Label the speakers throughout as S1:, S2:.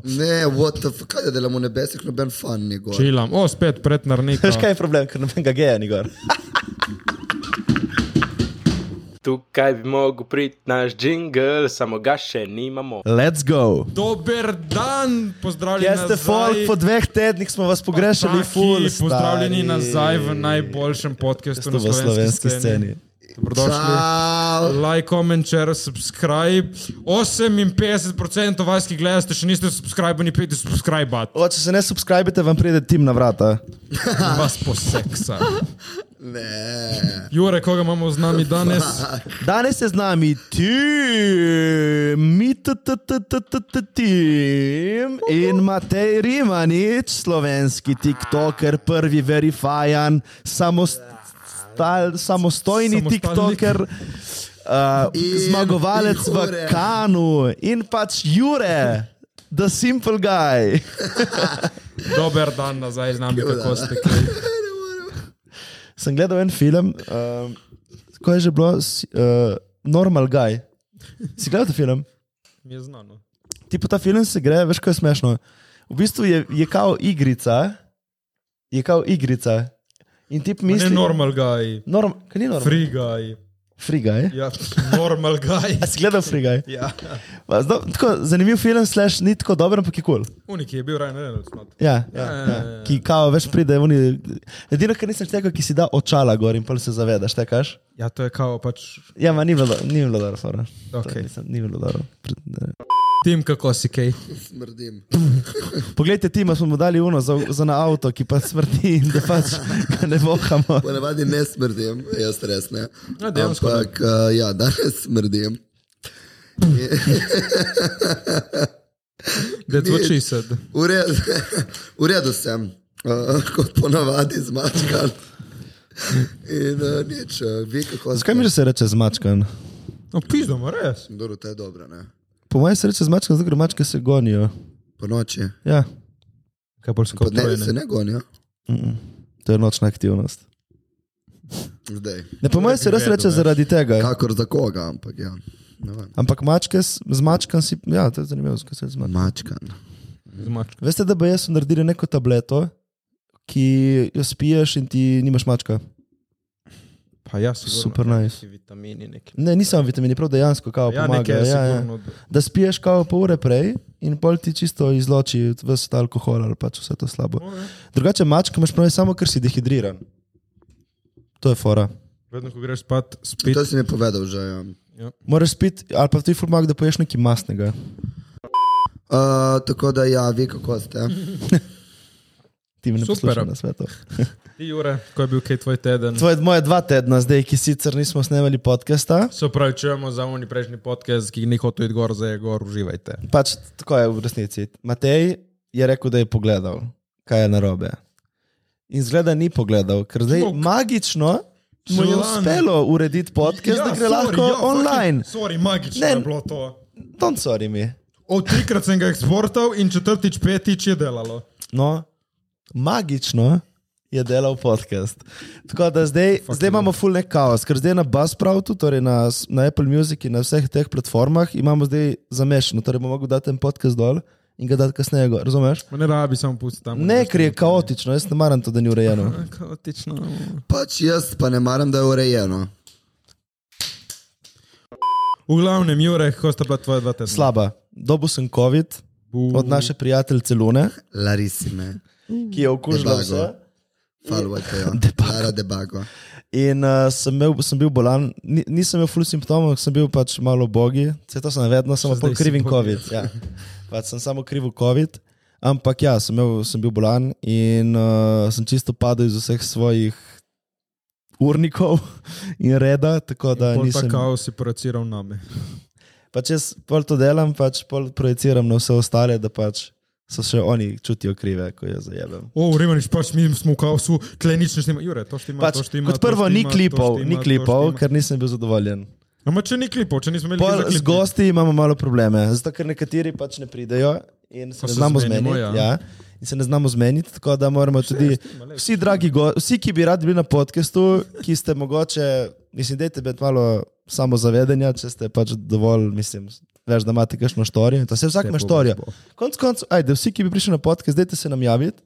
S1: Ne, what the fuck, kaj je, da delamo nebesih, noben fan ni gor.
S2: Čilam, o, spet pred narnikom.
S3: Veš kaj je problem, ker nobenega geja ni gor.
S4: Tukaj bi mogel priti naš jingle, samo ga še nimamo.
S3: Let's go.
S2: Dober dan, pozdravljeni.
S3: Jaz ste folk, po dveh tednih smo vas pogrešali,
S2: Taki,
S3: ful.
S2: Pozdravljeni
S3: stari.
S2: nazaj v najboljšem
S3: Jaz
S2: podkastu
S3: to
S2: na
S3: v slovenski sceni.
S2: Dobrodošli.
S1: Ciao.
S2: Like, comment, share, subscribe. 58% vas, ki gledate, še niste subscribe, ni pejte subscribe,
S3: O, če se ne subskrbite, vam pride tim na vrata.
S2: vas poseksa.
S1: Ne.
S2: Jure, koga imamo z nami danes?
S3: Danes je z nami tim, mi t- t- t- t- t- t- tim in Matej Rimanič, slovenski TikToker, prvi verifajan, samostal, samostojni
S2: Samostalnik.
S3: TikToker. Uh,
S1: In
S3: zmagovalec
S1: Jure.
S3: v Kanu in pač Jure, the simple guy.
S2: Dober dan nazaj z nami, kako ste kaj.
S3: Sem gledal en film, uh, ko je že bilo, s- uh, Normal Guy. Si gledal ta film?
S2: Mi je znano.
S3: ti pa ta film se gre, veš, kaj je smešno. V bistvu je, je kao igrica, je kao igrica. In ti
S2: Mislim,
S3: misliš,
S2: ne normal guy,
S3: Norm, kaj ni normal?
S2: free guy.
S3: Frigaj.
S2: Ja, normal guy.
S3: A si gledal Frigaj?
S2: Ja.
S3: Zanimiv film, slash ni tako dober, ampak je kul. Cool.
S2: Unik je bil Ryan Reynolds. mat.
S3: Ja, ja,
S2: Ja,
S3: ja.
S2: ja, ja.
S3: Ki kao več pride, oni. Edino, kar nisem tega, ki si da očala gor in pol se zavedaš, tekaš.
S2: Ja, to je kao pač
S3: Ja, ma ni bilo, do- ni bilo dobro, fora.
S2: Ok.
S3: To nisem- Ni bilo dobro. Pred- ne.
S2: tim, kako si kaj.
S1: Smrdim.
S3: Poglejte, tima smo mu dali uno za, za na avto, ki pa smrti in da pač ga ne vohamo.
S1: Ponavadi ne smrdim, jaz res ne.
S2: Ja, dejansko ne.
S1: Ampak, eh, ja, danes smrdim.
S2: That's what she said.
S1: V redu, v redu sem, uh, kot ponavadi zmačkan. In uh, nič, uh, vi kako
S3: Zakaj mi že se reče zmačkan?
S2: No, pizdamo, res.
S1: Dobro, to je dobro, ne?
S3: Po mojem se reče zmačka, zato ker mačke se gonijo.
S1: Po noči.
S3: Ja,
S2: Kaj bolj
S1: Po dnevi
S2: skopljeno?
S1: se ne ja. gonijo.
S3: to je nočna aktivnost.
S1: Zdaj.
S3: Ne,
S2: No,
S3: po mojem se res
S2: vedel,
S3: reče
S2: veš.
S3: zaradi tega.
S1: Kakor za koga, ampak ja. Ne vem.
S3: Ampak mačke s- z mačkom si. Ja, to je zanimivo, zakaj se reče zmačka.
S1: Mačkan.
S2: Zmačka.
S3: Veste, da bi jaz naredil neko tableto, ki jo spiješ in ti nimaš mačka.
S2: Pa ja, sigurno.
S3: Super nice.
S2: Vitamini neki.
S3: Ne, nisem vitamini, prav dejansko kao
S2: Ja, nekaj
S3: pomaga.
S2: je
S3: Ja, ja.
S2: sigurno.
S3: Da spiješ kao pol ure prej in pol ti čisto izloči vse ta alkohol ali pač vse to slabo.
S2: Okej.
S3: Drugače mačka imaš prav samo, ker si dehidriran. To je fora.
S2: Vedno, ko greš spat, spit.
S1: To si mi povedal že. Ja.
S3: Moraš spiti, ali pa ti fulmak, da poješ nekaj masnega.
S1: Uh, tako da ja, vi kako ste.
S3: Ti me ne
S2: Super.
S3: poslušaš na svetu.
S2: Ti, Jure, ko je bil kaj tvoj teden?
S3: Tvoje moje dva tedna zdaj, ki sicer nismo snemali podcasta,
S2: Se upravičujemo za oni prejšnji podcast, ki ni hotel iti gor, zdaj je gor, uživajte.
S3: pač tako je v resnici. Matej je rekel, da je pogledal, kaj je narobe. In zgleda ni pogledal, ker zdaj
S2: Smok.
S3: Smok. magično mu je
S2: Želan.
S3: uspelo urediti podcast, ja, da gre
S2: sorry,
S3: lahko ja,
S2: fucking-
S3: online.
S2: Sorry, magično
S3: Ne.
S2: je bilo to.
S3: Don't sorry mi.
S2: O, trikrat sem ga eksportal in četrtič, petič je delalo.
S3: No, magično je delal podcast. Tako da zdaj, zdaj imamo full nek kaos, ker zdaj na Buzzsproutu, torej na, s- na Apple Music in na vseh teh platformah imamo zdaj zamešano, torej bomo mogli dati en podcast dol in ga dati kasneje, gor, razumeš?
S2: Ma Ne rabi, samo pusti tam.
S3: Ne, ker je kaotično, jaz ne maram to, da ni urejeno.
S2: A, Kaotično. no.
S1: Pač jaz pa ne maram, da je urejeno.
S2: V glavnem, Jure, kako sta bila tvoja dva tedna?
S3: Slaba. Dobil sem COVID
S2: Bu.
S3: od naše prijateljice Lune,
S1: Larisime,
S3: ki je okužila
S1: Debago.
S3: vse.
S1: falvate jo.
S3: Debago.
S1: ja. Lara debago.
S3: In uh, sem, imel, sem bil bolan, Ni, nisem imel flu simptomov, sem bil pač malo bogi, vse to sem vedno, samo
S2: Še
S3: pol
S2: zdaj si
S3: krivim
S2: bogi.
S3: COVID. Ja. Pač sem samo kriv COVID, ampak ja, sem, imel, sem bil bolan in uh, sem čisto padel iz vseh svojih urnikov in reda, tako da
S2: Pol
S3: nisem.
S2: Ta kaos je projiciral name.
S3: Pač jaz pol to delam, pač pol projiciram na vse ostale, da pač so še oni čutijo krive, ko jaz zajemem.
S2: O, Rimaniš, pač mi smo v kaosu, tle nič ne štima. Jure, to štima,
S3: Pač,
S2: to štima.
S3: kot
S2: to
S3: prvo, ni
S2: štima, to
S3: klipov,
S2: štima,
S3: ni
S2: to
S3: klipov,
S2: štima.
S3: ker nisem bil zadovoljen.
S2: Ampak če ni klipov, če nismo imeli
S3: Pol,
S2: klipov.
S3: z gosti imamo malo probleme, zato ker nekateri pač ne pridejo in
S2: Ko
S3: se ne
S2: se
S3: znamo
S2: zmenimo,
S3: zmeniti.
S2: ja.
S3: Ja. Ja, in se ne znamo zmeniti, tako da moramo tudi vsi, dragi gosti, vsi, ki bi radi bili na podkastu, ki ste mogoče, mislim, da je tebe malo samozavedanja, če ste pač dovolj, mislim, veš, da imate kakšno štorijo. in To se vsak ima štorijo. Konc koncev, ajde, vsi, ki bi prišli na podcast, dajte se nam javiti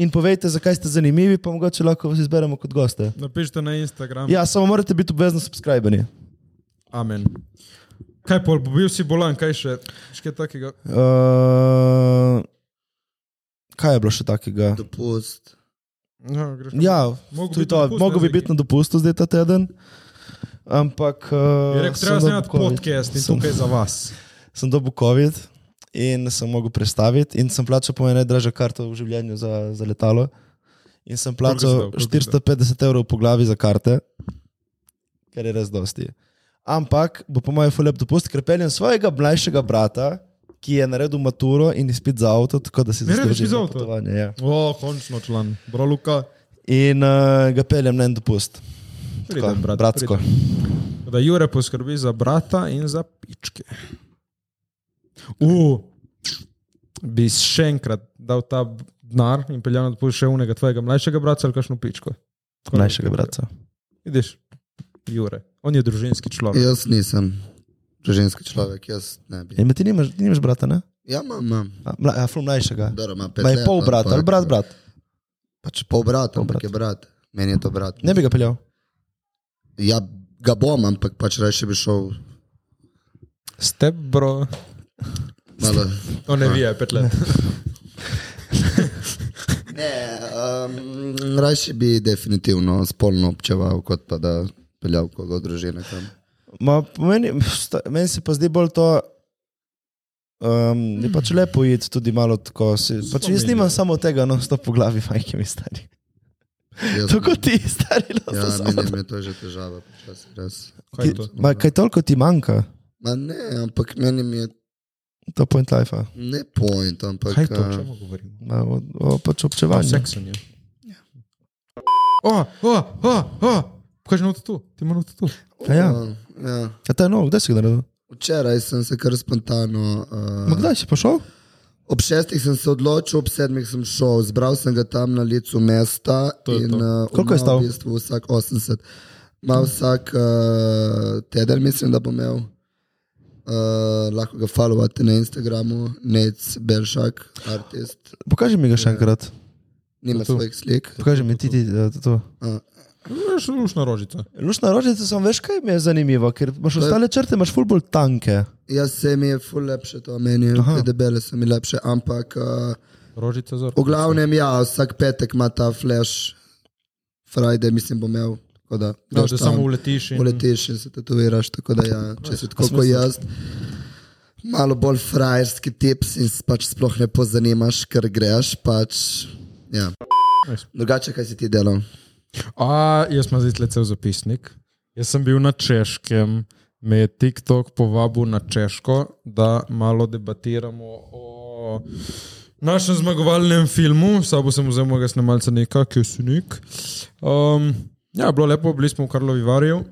S3: in povejte, zakaj ste zanimivi, pa mogoče lahko vas izberemo kot goste.
S2: Napišite No, na Instagram.
S3: Ja, samo morate biti obvezno subskrbeni.
S2: Amen. Kaj pol, bil si bolan, kaj še? Še kaj takega?
S3: Uh, kaj je bilo še takega?
S1: Dopust.
S2: Ja, greš na-
S3: Ja,
S2: Mogo
S3: tudi
S2: biti
S3: to,
S2: na dopustu,
S3: mogel
S2: ne,
S3: bi
S2: Zeki?
S3: biti na dopustu zdaj ta teden. Ampak. Uh,
S2: Je rekel,
S3: sem
S2: treba
S3: dobil
S2: snemati
S3: covid.
S2: podcast in
S3: Sem-
S2: tukaj za vas.
S3: sem dobil COVID in sem mogel prestaviti, in sem plačal po mojem najdražjo karto v življenju za, za letalo. In sem
S2: Koliko si dal?
S3: plačal
S2: Koliko si
S3: 450 evrov po glavi za karte, kar je res dosti. Ampak bo po mojem fulep dopust, ker peljem svojega mlajšega brata, ki je naredil maturo in izpit za avto, tako da si
S2: Je naredil
S3: zasluži
S2: izpit za
S3: eno
S2: avto?
S3: potovanje. Ja.
S2: O, končno član. Bro, Luka.
S3: In uh, ga peljem na en dopust. Tako,
S2: Pridem, brat,
S3: bratsko.
S2: Da Jure poskrbi za brata in za pičke. U, bi še enkrat dal ta denar in peljal na dopust še unega tvojega mlajšega brata ali kakšno pičko. Tako
S3: Mlajšega
S2: nekaj.
S3: brata.
S2: Vidiš, Jure. On je družinski človek.
S1: Jaz nisem ženski človek, jaz ne bi.
S3: In E, ti nimaš, ti nimaš brata, ne?
S1: Ja, imam, imam.
S3: A, mla, a ful mlajšega.
S1: Dobro, ima pet
S3: Ma je
S1: let,
S3: pol
S1: no,
S3: brat,
S1: pa-
S3: ali brat, brat.
S1: Pač pol brat,
S3: Pol
S1: ampak
S3: brat.
S1: je brat. Meni je to brat.
S3: Ne bi ga peljal.
S1: Ja, ga bom, ampak pač reče bi šel
S2: Ste bro.
S1: malo.
S2: On ne vije, pet let.
S1: Ne, um, rajši bi definitivno spolno občeval, kot pa da peljal koga od družine kam.
S3: Ma, po meni, sta- meni se pa zdi bolj to. Um, je pač lepo iti tudi malo tako. Si, pač jaz nimam samo tega, no, stop po glavi, fajki mi stari.
S1: Jaz,
S3: Tako ti, stari, da
S1: ja,
S3: ja, samo.
S1: meni je to že težava, počasi res.
S2: Kaj
S3: Ti,
S2: je to?
S3: ma, kaj toliko ti manjka,
S1: Ma ne, ampak meni mi je
S3: to point life.
S1: ne point, ampak
S2: Kaj je to? O
S1: a,
S2: čem govorimo?
S3: Ma, o, o, pač
S2: O
S3: občevanje.
S2: seksu je. O, o, o, o. Kaj je noto tu? Ti imaš noto tu?
S3: A Ja,
S1: a, ja.
S3: ja to je novo, kdaj si ga naredil?
S1: Včeraj sem se kar spontano.
S3: Ma,
S1: Uh,
S3: kdaj si pošel?
S1: ob šestih sem se odločil, ob sedmih sem šel, zbral sem ga tam na licu mesta.
S2: To je
S1: in,
S2: to.
S1: uh,
S3: Koliko je
S1: ima
S3: stal?
S1: V bistvu vsak 80. Ma vsak uh, teden mislim, da bo imel. Uh, lahko ga followate na Instagramu, Nec Belšak, artist,
S3: Pokaži mi ga še enkrat.
S1: nima
S2: To.
S1: svojih slik.
S3: Pokaži mi ti, ti eh, to. to.
S2: Veš, lušna rožica.
S3: Lušna rožica, sem veš, kaj mi je zanimivo, ker imaš ostale črte, imaš ful bolj tanke.
S1: Jaz se mi je ful lepše to meni, te debele so mi lepše, ampak uh,
S2: Rožica za
S1: v glavnem ja, vsak petek ima ta flash, Friday mislim bo imel. tako Da,
S2: No,
S1: greš
S2: da
S1: tam.
S2: samo uletiš in
S1: Uletiš in se tatoviraš, tako da ja, če si tako kot jaz, malo bolj frajerski tips in se pač sploh ne pozanimaš, ker greš pač. Ja.
S2: Nice.
S1: Drugače, kaj si ti delal?
S2: A, jaz sem zdaj tlecev zapisnik. Jaz sem bil na češkem, me je TikTok povabil na češko, da malo debatiramo o našem zmagovalnem filmu. S Sabo sem vzel mojega snemalca Nika, ki je sunik. Um, ja, bilo lepo, bili smo v Karlovi Varju,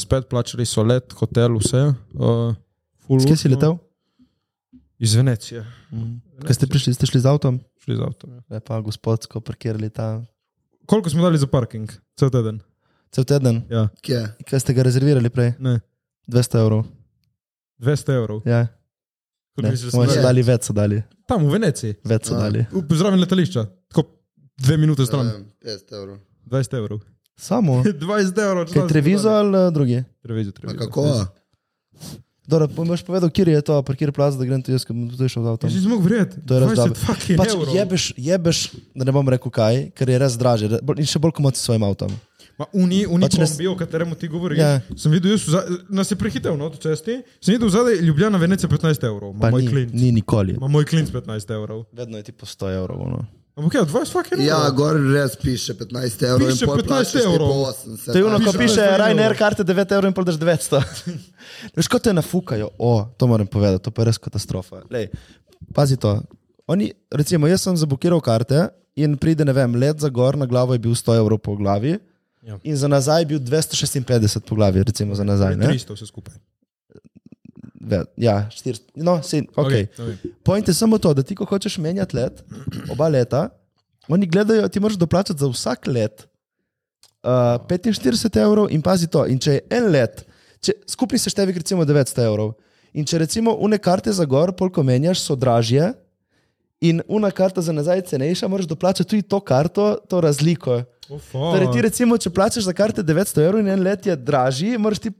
S2: spet plačali so let, hotel, vse. Uh, ful
S3: Kje si
S2: luštno.
S3: letel?
S2: Iz Venecije.
S3: Kaj ste prišli, ste šli z avtom?
S2: Šli z avtom. Ja.
S3: Je pa gospodsko parkirali tam
S2: Koliko smo dali za parking? Cel teden.
S3: cel teden.
S2: Ja.
S1: Kje?
S3: Kaj ste ga rezervirali prej?
S2: Ne.
S3: 200 evrov.
S2: 200 evrov.
S3: Ja,
S2: Kot
S3: ne,
S2: misliš, da
S3: smo
S2: smo
S3: še
S1: ne.
S3: dali več, so dali.
S2: tam v Veneciji.
S3: Več so
S1: A.
S3: dali.
S2: V- Zraven letališča, tako dve minute stran,
S1: Eh, 50 evrov.
S2: 20 evrov.
S3: Samo.
S2: 20 evrov, če
S3: Kaj Trevizo ali eh, drugi?
S2: Trevizo,
S1: Ma
S2: trevizo.
S1: kako?
S3: Dobro, pa mi boš povedal, kje je to, parkir plaza, da grem tudi jaz, ker bom tudi šel z avtom.
S2: Jaz nisem mogel verjeti.
S3: To je res dobro.
S2: 20 fucking
S3: Pač
S2: evrov.
S3: jebeš, jebeš, da ne bom rekel kaj, ker je res draže re- bolj- in še bolj komot s svojim avtom.
S2: Ma uni, uni pač
S3: Pač ne-
S2: kombi, o katerem ti govoriš.
S3: Ja.
S2: Ja. Sem videl, jaz, vza- nas je prehitel na avtocesti, sem videl zadaj Ljubljana, Venecija 15 evrov, ma
S3: Pa
S2: moj
S3: ni,
S2: klint.
S3: ni nikoli.
S2: Ma moj klint 15 evrov.
S3: Vedno je ti po 100 evrov. No.
S2: Ampak ja, 20 fucking evrov.
S1: Ja, gor res piše 15 evrov.
S2: Piše
S1: in pol
S2: 15
S1: plačaš ti
S2: evrov.
S1: po 80.
S3: To je ono, ko
S2: Piše
S3: piše
S2: 200
S3: Ryanair
S2: evrov.
S3: karte 9 evrov in prodaš 900. Veš, kot te nafukajo, o, to moram povedati, to pa je res katastrofa. Lej, pazi to. Oni, recimo, jaz sem zablokiral karte in pride, ne vem, let za gor na glavo je bil 100 evrov po glavi.
S2: Ja.
S3: In za nazaj je bil 256 po glavi, recimo za nazaj. Ne?
S2: 300 vse skupaj.
S3: Ve- Ja, 400. No, se, okay.
S2: to vem.
S3: Point je samo to, da ti, ko hočeš menjati let, oba leta, oni gledajo, ti moraš doplačati za vsak let uh, 45 evrov in pazi to. In če je en let, če, skupni seštevek recimo 900 evrov. In če recimo une karte za gor, polko menjaš, so dražje, in una karta za nazaj je cenejša, moraš doplačati tudi to karto, to razliko. Torej, ti recimo, če plačaš za karte 900 evrov in en let je dražji, moraš ti.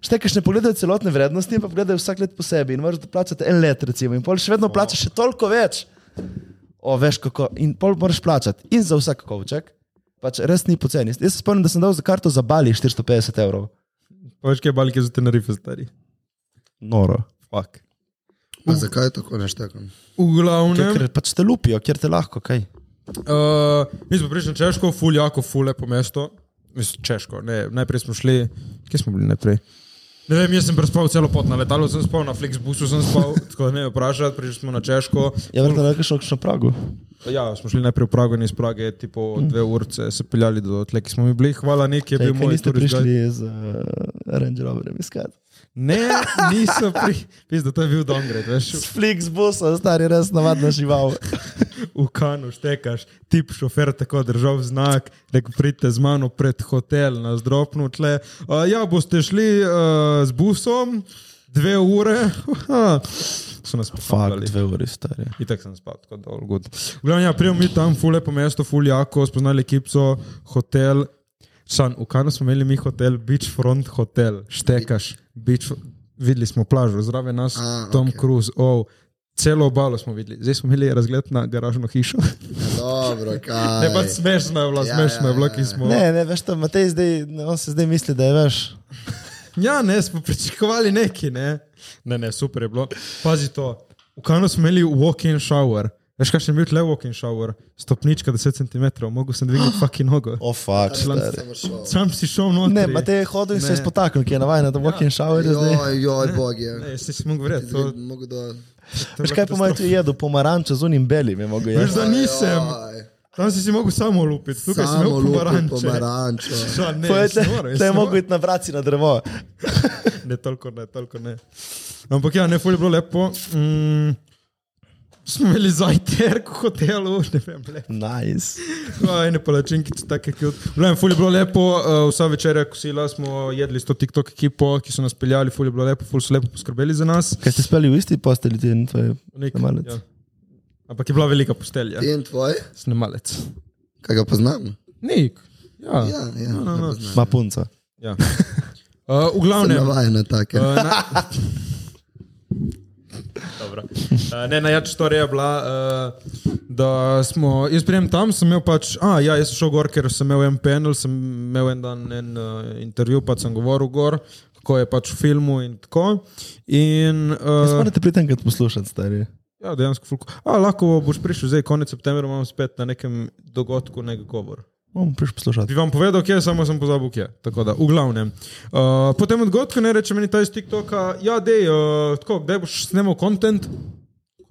S3: Štekaš ne pogledajo celotne vrednosti, pa gledajo vsak let posebej in moraš plačati en let, recimo, in pol še vedno plačaš še toliko več. O, veš kako, in pol moraš plačati in za vsak kovček, pač res ni poceni. Jaz se spomnim, da sem dal za karto za Bali 450 evrov.
S2: Veš, kaj je balike za Tenerife stari.
S3: Noro.
S2: Fuck.
S1: Pa zakaj tako neštekam?
S2: V glavnem.
S3: Ker pač te lupijo, kjer te lahko, kaj.
S2: Uh, mi smo prišli na Češko, ful, jako fule po mestu. Mislim, Češko, ne, najprej smo šli, kje smo bili najprej? Ne vem, jaz sem prespal celo pot na letalu, sem spal na Flixbusu, sem spal, tako da ne vprašaj, prišli smo na Češko.
S3: Ja, verjetno nekaj šel še na Pragu.
S2: Ja, smo šli najprej v Prago in iz Prage, tipo dve urce se peljali do tle, ki smo mi bili. Hvala, nek je
S3: Kaj,
S2: bil
S3: Mm.
S2: moj
S3: kaj
S2: torej
S3: niste
S2: turist guide.
S3: prišli z uh, Range Roverjem iskati?
S2: Ne, niso prišli. Pizda, to je bil downgrade, veš.
S3: S Flixbusa, stari res navadna žival.
S2: v kanu štekaš, tip šofer tako držal znak, rekel pridite z mano pred hotel na zdropnu tle. Uh, ja, boste šli uh, z busom, dve ure. Aha. So nas
S3: Fakt,
S2: poslali.
S3: dve uri stari.
S2: In tako sem spal, tako da je bilo. Glavno, ja, prijemo mi tam, fule po mestu, fuljako, spoznali ekipo, hotel. San, v Kanu smo imeli mi hotel, beachfront hotel, štekaš, beach, videli smo plažo, zraven nas,
S1: A,
S2: Tom
S1: okej.
S2: Cruise, oh, celo obalo smo videli. Zdaj smo imeli razgled na garažno hišo.
S1: Dobro, kaj.
S2: Ne, pa smešno je bilo,
S1: Ja,
S2: smešno je bilo,
S1: ja,
S2: ki
S1: ja.
S2: smo.
S3: Ne, ne, veš, to Matej zdaj, ne, on se zdaj misli, da je veš.
S2: Ja, ne, smo pričakovali neki, ne. Ne, ne, super je bilo. Pazi to, v kanu smo imeli walk-in shower. Veš, kaj še imel tle walk-in shower? Stopnička 10 cm, mogel sem dvigniti fucking nogo.
S3: O, oh, fakt.
S1: Sem
S3: stari.
S1: samo šel.
S2: Sam si šel noter.
S3: Ne, Ja. Matej je hodil in se
S2: Ne.
S3: je spotaknil, ki je navaden, da bo kje šaver.
S1: Joj, joj, bog je.
S2: Ne, si si mogel verjeti. To,
S1: Mogu do...
S2: to je
S3: Veš kaj po mojem ja. tu jedu, pomaranče z unim belim je mogel
S2: Veš,
S3: jesti.
S2: da nisem.
S1: Joj.
S2: Tam si si mogel samo lupiti, tukaj si
S1: Samo
S2: imel
S1: lupi
S2: pomaranče.
S1: pomaranče.
S2: Ja, ne,
S3: Pojete,
S2: jaz ne morem, jaz
S3: da je
S2: ne
S3: mogel iti na vraci na drevo.
S2: Ne, toliko ne, toliko ne. Ampak ja, ne, ful je bilo lepo. Mm, smo imeli zajtrk v hotelu, ne vem, lepo.
S3: Nice.
S2: Ene palačinke, tako kot. Vem, ful je bilo lepo, uh, vsa večerja kosila smo jedli s to TikTok ekipo, ki so nas peljali, ful je bilo lepo, ful so lepo poskrbeli za nas.
S3: Kaj ste spali v isti posteli, ti in tvoj
S2: Nek-
S3: snemalec?
S2: ja. Ampak je bila velika postelja.
S1: In tvoj?
S2: Snemalec.
S1: Kaj ga poznam?
S2: Nik. Ja.
S1: Ja, ja.
S2: No, no.
S3: Ma punca.
S2: ja. Uh,
S1: Sem
S2: v glavnem.
S1: navajen na take.
S2: Uh, na... Dobro. Uh, ne, najjača storija je bila, uh, da smo, jaz prijem tam, sem imel pač, a ja, jaz sem šel gor, ker sem imel en panel, sem imel en dan en uh, intervju, pa sem govoril gor, kako je pač v filmu in tako. In,
S3: Jaz
S2: uh,
S3: morate pri tem, kad poslušati, stari.
S2: ja, dejansko, fulko. A, lahko boš prišel zdaj, konec septembra imam spet na nekem dogodku nek govor.
S3: Bom prišel poslušati.
S2: Bi vam povedal, kje je, samo sem pozabil, kje. Tako da, v glavnem. Uh, potem odgodko ne reče meni ta iz TikToka, ja, dej, uh, tako, kdaj boš snemal kontent?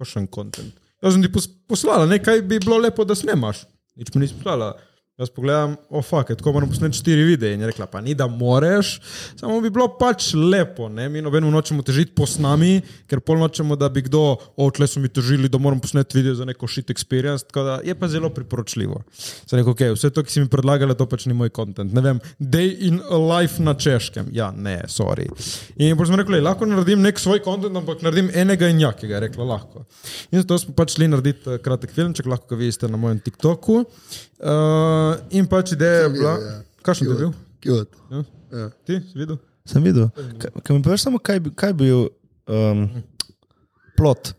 S2: Kakšen kontent? Jaz sem ti pos poslala, nekaj bi bilo lepo, da snemaš. Nič mi nisi poslala. Jaz pogledam, oh, fuck, je, tako moram posneti štiri videe. In je rekla, pa ni da moreš, samo bi bilo pač lepo, ne? mi nobeno nočemo težiti po snami, ker pol nočemo, da bi kdo, otle so mi težili, da moram posneti video za neko shit experience, tako da je pa zelo priporočljivo. Sem rekel, ok, vse to, ki si mi predlagala, to pač ni moj kontent. Ne vem, day in life na češkem. Ja, ne, sorry. In potem smo rekli, lahko naredim nek svoj kontent, ampak naredim enega in jakega, je rekla lahko. In zato smo pač šli narediti eh, kratek filmček, lahko ga vidite na mojem TikToku. Uh, in pač ideja je bila,
S1: ja.
S2: kakšen je bil?
S1: Kjut.
S2: Ja.
S1: Ja.
S2: Ti si videl?
S3: Sem videl. Kaj, kaj mi poveš samo, kaj, bi- kaj bi bil um, plot?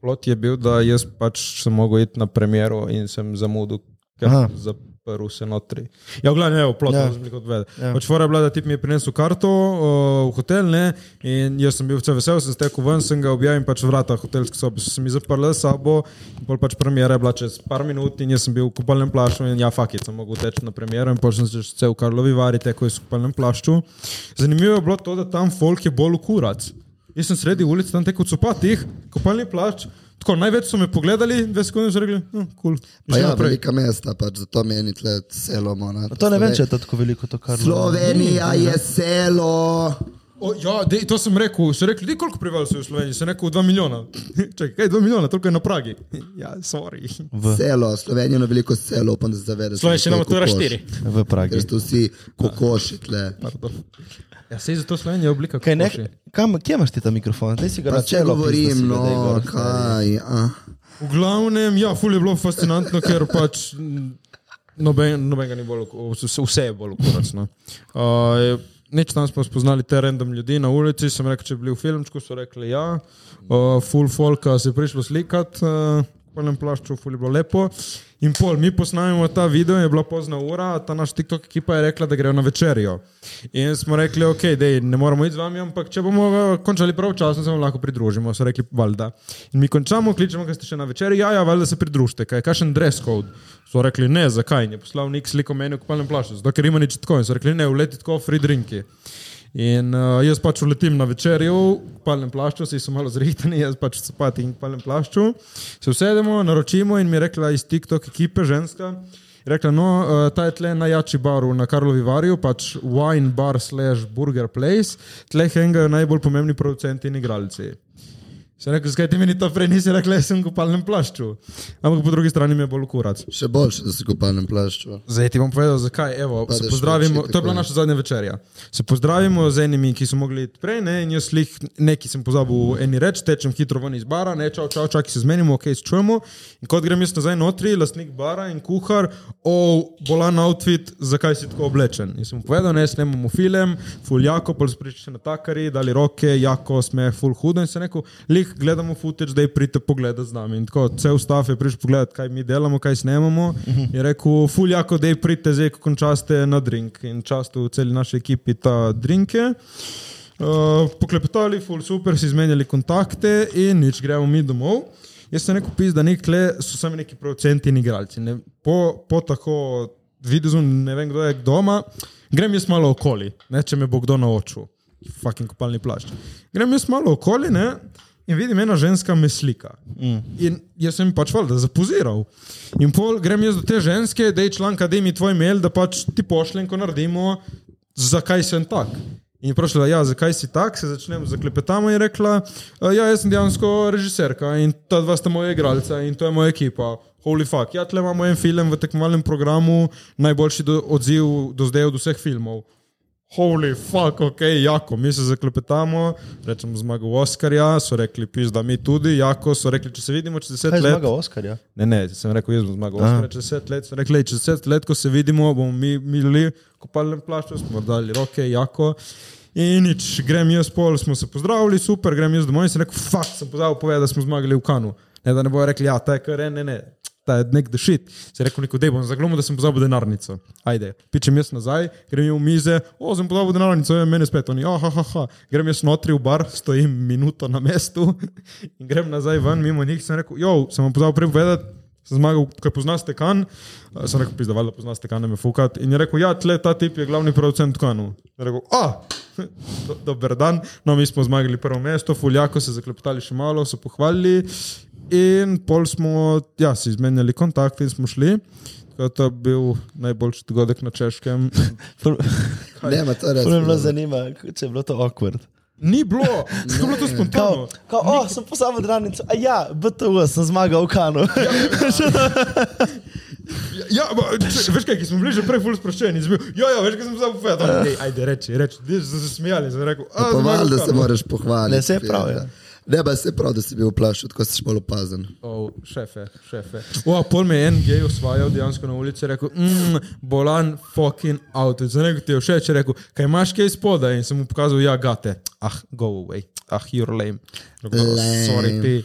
S2: Plot je bil, da jaz pač sem mogel iti na premjero in sem zamudil, ker
S3: Aha.
S2: sem zaprl se notri. Ja, glavno je, plot
S3: Ja.
S2: ja. sem rekel odvedel. Ja.
S3: Ja.
S2: Pač fora je bila, da ti mi je prinesel karto uh, v hotel ne? in jaz sem bil vse vesel, sem stekel ven, sem ga objavil in pač vrata hotelske sobe so se mi zaprle s sabo in pol pač premjera je bila čez par minut in jaz sem bil v kupalnem plašču in ja, fakit sem mogel teči na premjero in pol sem se vse v Karlovi vari tekel iz kupalnem plašču. Zanimivo je bilo to, da tam folk je bolj kurac. Jaz sem sredi ulice, tam tekel copatih, kopalni plašč. Tako, največ so me pogledali, dve sekunde so rekli, no, kul. Cool. In
S1: Pa
S2: šli
S1: ja,
S2: naprej.
S1: velika mesta, pač zato meni tle selo mona.
S3: To ne vem, če je to tako veliko, to kar
S1: Slovenija je selo.
S2: O, ja, dej, to sem rekel, so rekli, "Dej, koliko prebivalcev je v Sloveniji, sem rekel 2 milijona. Čakaj, kaj 2 milijona, toliko je na Pragi. Ja, sorry.
S3: V,
S1: Selo, Slovenijo ima veliko selo, upam, da se zavedaš.
S5: Slovenščina
S1: koliko je
S5: matura
S1: kokoš.
S5: 4.
S3: v Pragi.
S1: Ker so vsi kokoši tle.
S2: Pardon. Ja, sej zato Slovenija je oblika
S3: Kaj, ne,
S2: kokoši.
S3: kam, kje imaš ti ta mikrofon? Daj si ga
S1: Pa
S3: na
S1: če
S3: čelo.
S1: govorim, no, kaj. A.
S2: V glavnem, ja, ful je bilo fascinantno, ker pač m, noben, No, nobenega ni bolj, oko- vse vse je bolj no. ukoracno. Uh, Neč tam smo spoznali te random ljudi na ulici, sem rekel, če bi bili v filmčku, so rekli ja, uh, full folka se je prišlo slikat, uh, v polnem plašču, full je bilo lepo. In pol, mi posnamemo ta video, je bila pozna ura, ta naš TikTok ekipa je rekla, da grejo na večerjo. In smo rekli, ok, dej, ne moramo iti z vami, ampak če bomo eh, končali pravočasno, se vam lahko pridružimo. So rekli, valjda. In mi končamo, kličemo, ker ste še na večerji, ja, ja, valjda se pridružite, kaj je kakšen dress code. So rekli, ne, zakaj, In je poslal nek sliko meni v kopalnem plašču, zato ker ima nič tako. In so rekli, ne, uleti tako, free drinki. In uh, jaz pač uletim na večerjo, v palnem plašču, si so malo zrihtani, jaz pač v copatih in v palnem plašču. Se usedemo, naročimo in mi je rekla iz TikTok ekipe ženska. je Rekla, no, eh, ta je tle najjači bar v- na Karlovi Varju, pač wine bar slash burger place, tle hengajo najbolj pomembni producenti in igralci. Sem rekel, zakaj ti meni to prej nisi rekla, jaz sem v kopalnem plašču. Ampak po drugi strani mi je bolj kurac.
S1: Še boljše, da si kopalnem plašču.
S2: Zdaj ti bom povedal, zakaj. Evo,
S1: Padeš
S2: se pozdravimo,
S1: noči,
S2: to je
S1: tako
S2: bila
S1: je.
S2: naša zadnja večerja. Se pozdravimo z enimi, ki so mogli iti prej, ne, in jaz lih neki sem pozabil v eni reči, tečem hitro ven iz bara, ne, čau, čau, čakaj se zmenimo, ok, se čujemo. In kot grem jaz nazaj notri, lastnik bara in kuhar, o, bolan outfit, zakaj si tako oblečen. In sem mu povedal, ne, snemamo film, full jako, pol spriči se na takari, dali roke, jako sme, full hudo in se neko, lih gledamo footage, da je pridite pogledat z nami. In tako cel stav je prišel pogledat, kaj mi delamo, kaj snemamo. Je rekel, full jako, da je pridite zdaj, ko končaste na drink. In často v celi naši ekipi ta drinke. Uh, poklepetali, full super, si izmenjali kontakte in nič, gremo mi domov. Jaz sem rekel, pis, da nekle so sami neki producenti in igralci. Ne, po, po tako vidu, ne vem kdo je doma, grem jaz malo okoli, ne, če me bo kdo naočil, fucking kopalni plašč. Grem jaz malo okoli ne, in vidim, ena ženska me slika. Mm. In jaz sem pač valjda zapoziral. In pol grem jaz do te ženske, da je članka, da mi tvoj mail, da pač ti pošljem, ko naredimo, zakaj sem tak. In je vprašala, ja, zakaj si tak, se začnemo zaklepetamo in je rekla, "E, ja, jaz sem dejansko režiserka in ta dva sta moja igralca in to je moja ekipa. Holy fuck, ja, tle imamo en film v tekmovalnem programu, najboljši do, odziv do zdaj od vseh filmov. Holy fuck, ok, jako, mi se zaklepetamo, rečemo zmago Oscarja, so rekli, piš, da mi tudi, jako, so rekli, če se vidimo čez deset
S3: Kaj je
S2: let.
S3: zmagal ja? Oskarja?
S2: Ne, ne, sem rekel, jaz bom zmagal. Oscar, Torej, Čez deset let sem rekel, "Ej, čez deset let, ko se vidimo, bomo mi imeli kopalne plašče, smo dali roke, jako. In nič, grem jaz pol, smo se pozdravili, super, grem jaz domov in sem rekel, fakt sem pozabil povedati, da smo zmagali v kanu. Ne, da ne bojo rekli, ja, ta je kar en, ne, ne, ta je nek dešit. Se je rekel, neko dej bom zaglomil, da sem pozabil denarnico. Ajde, pičem jaz nazaj, grem jaz v mize, o, sem pozabil denarnico, je meni spet, oni, aha, aha, aha. grem jaz notri v bar, stojim minuto na mestu in grem nazaj ven mimo njih, sem rekel, jo, sem vam pozabil prej povedati, Sem zmagal, ker poznaš tekan. Eh, Sem rekel, pizda, valjda poznaš tekan, ne me fukat. In je rekel, ja, tle, ta tip je glavni producent tekanu. Je rekel, a, do, dober dan, no mi smo zmagali prvo mesto, fuljako se zaklepetali še malo, so pohvalili. In pol smo, ja, si izmenjali kontakte in smo šli. Tako da To je bil najboljši dogodek na češkem.
S1: Ne, ma to je res.
S3: Prvo me bilo
S1: hudo.
S3: zanima, če je bilo to awkward.
S2: Ni bilo, tako je bilo to
S1: Ja.
S2: spontano.
S3: Kao, kao, o, sem posabil dranico, a ja, BTU, sem zmagal v kanu.
S2: Ja, ba, če, veš kaj, ki smo bili že prej ful sproščeni, zbil, ja, ja, veš kaj sem zdaj povedal. Ej, Ajde, reči, reči, zdaj so se smejali, sem rekel, a,
S1: Pa
S2: zmagal
S1: valjda se
S2: Kanu.
S1: moraš pohvaliti.
S3: Ne, saj je prav, ja.
S1: Ne, pa se je prav, da si bil v plašču, tako si šel opazen.
S2: Oh, šefe, šefe. O, a pol me je en gej osvajal dejansko na ulici, rekel, mm, bolan fucking out. Za nekaj ti je všeč, je rekel, kaj imaš kaj spodaj in sem mu pokazal, ja, gate. Ah, go away. Ah, you're lame. Rekel, "Oh,
S1: Lame.
S2: Sorry, ti.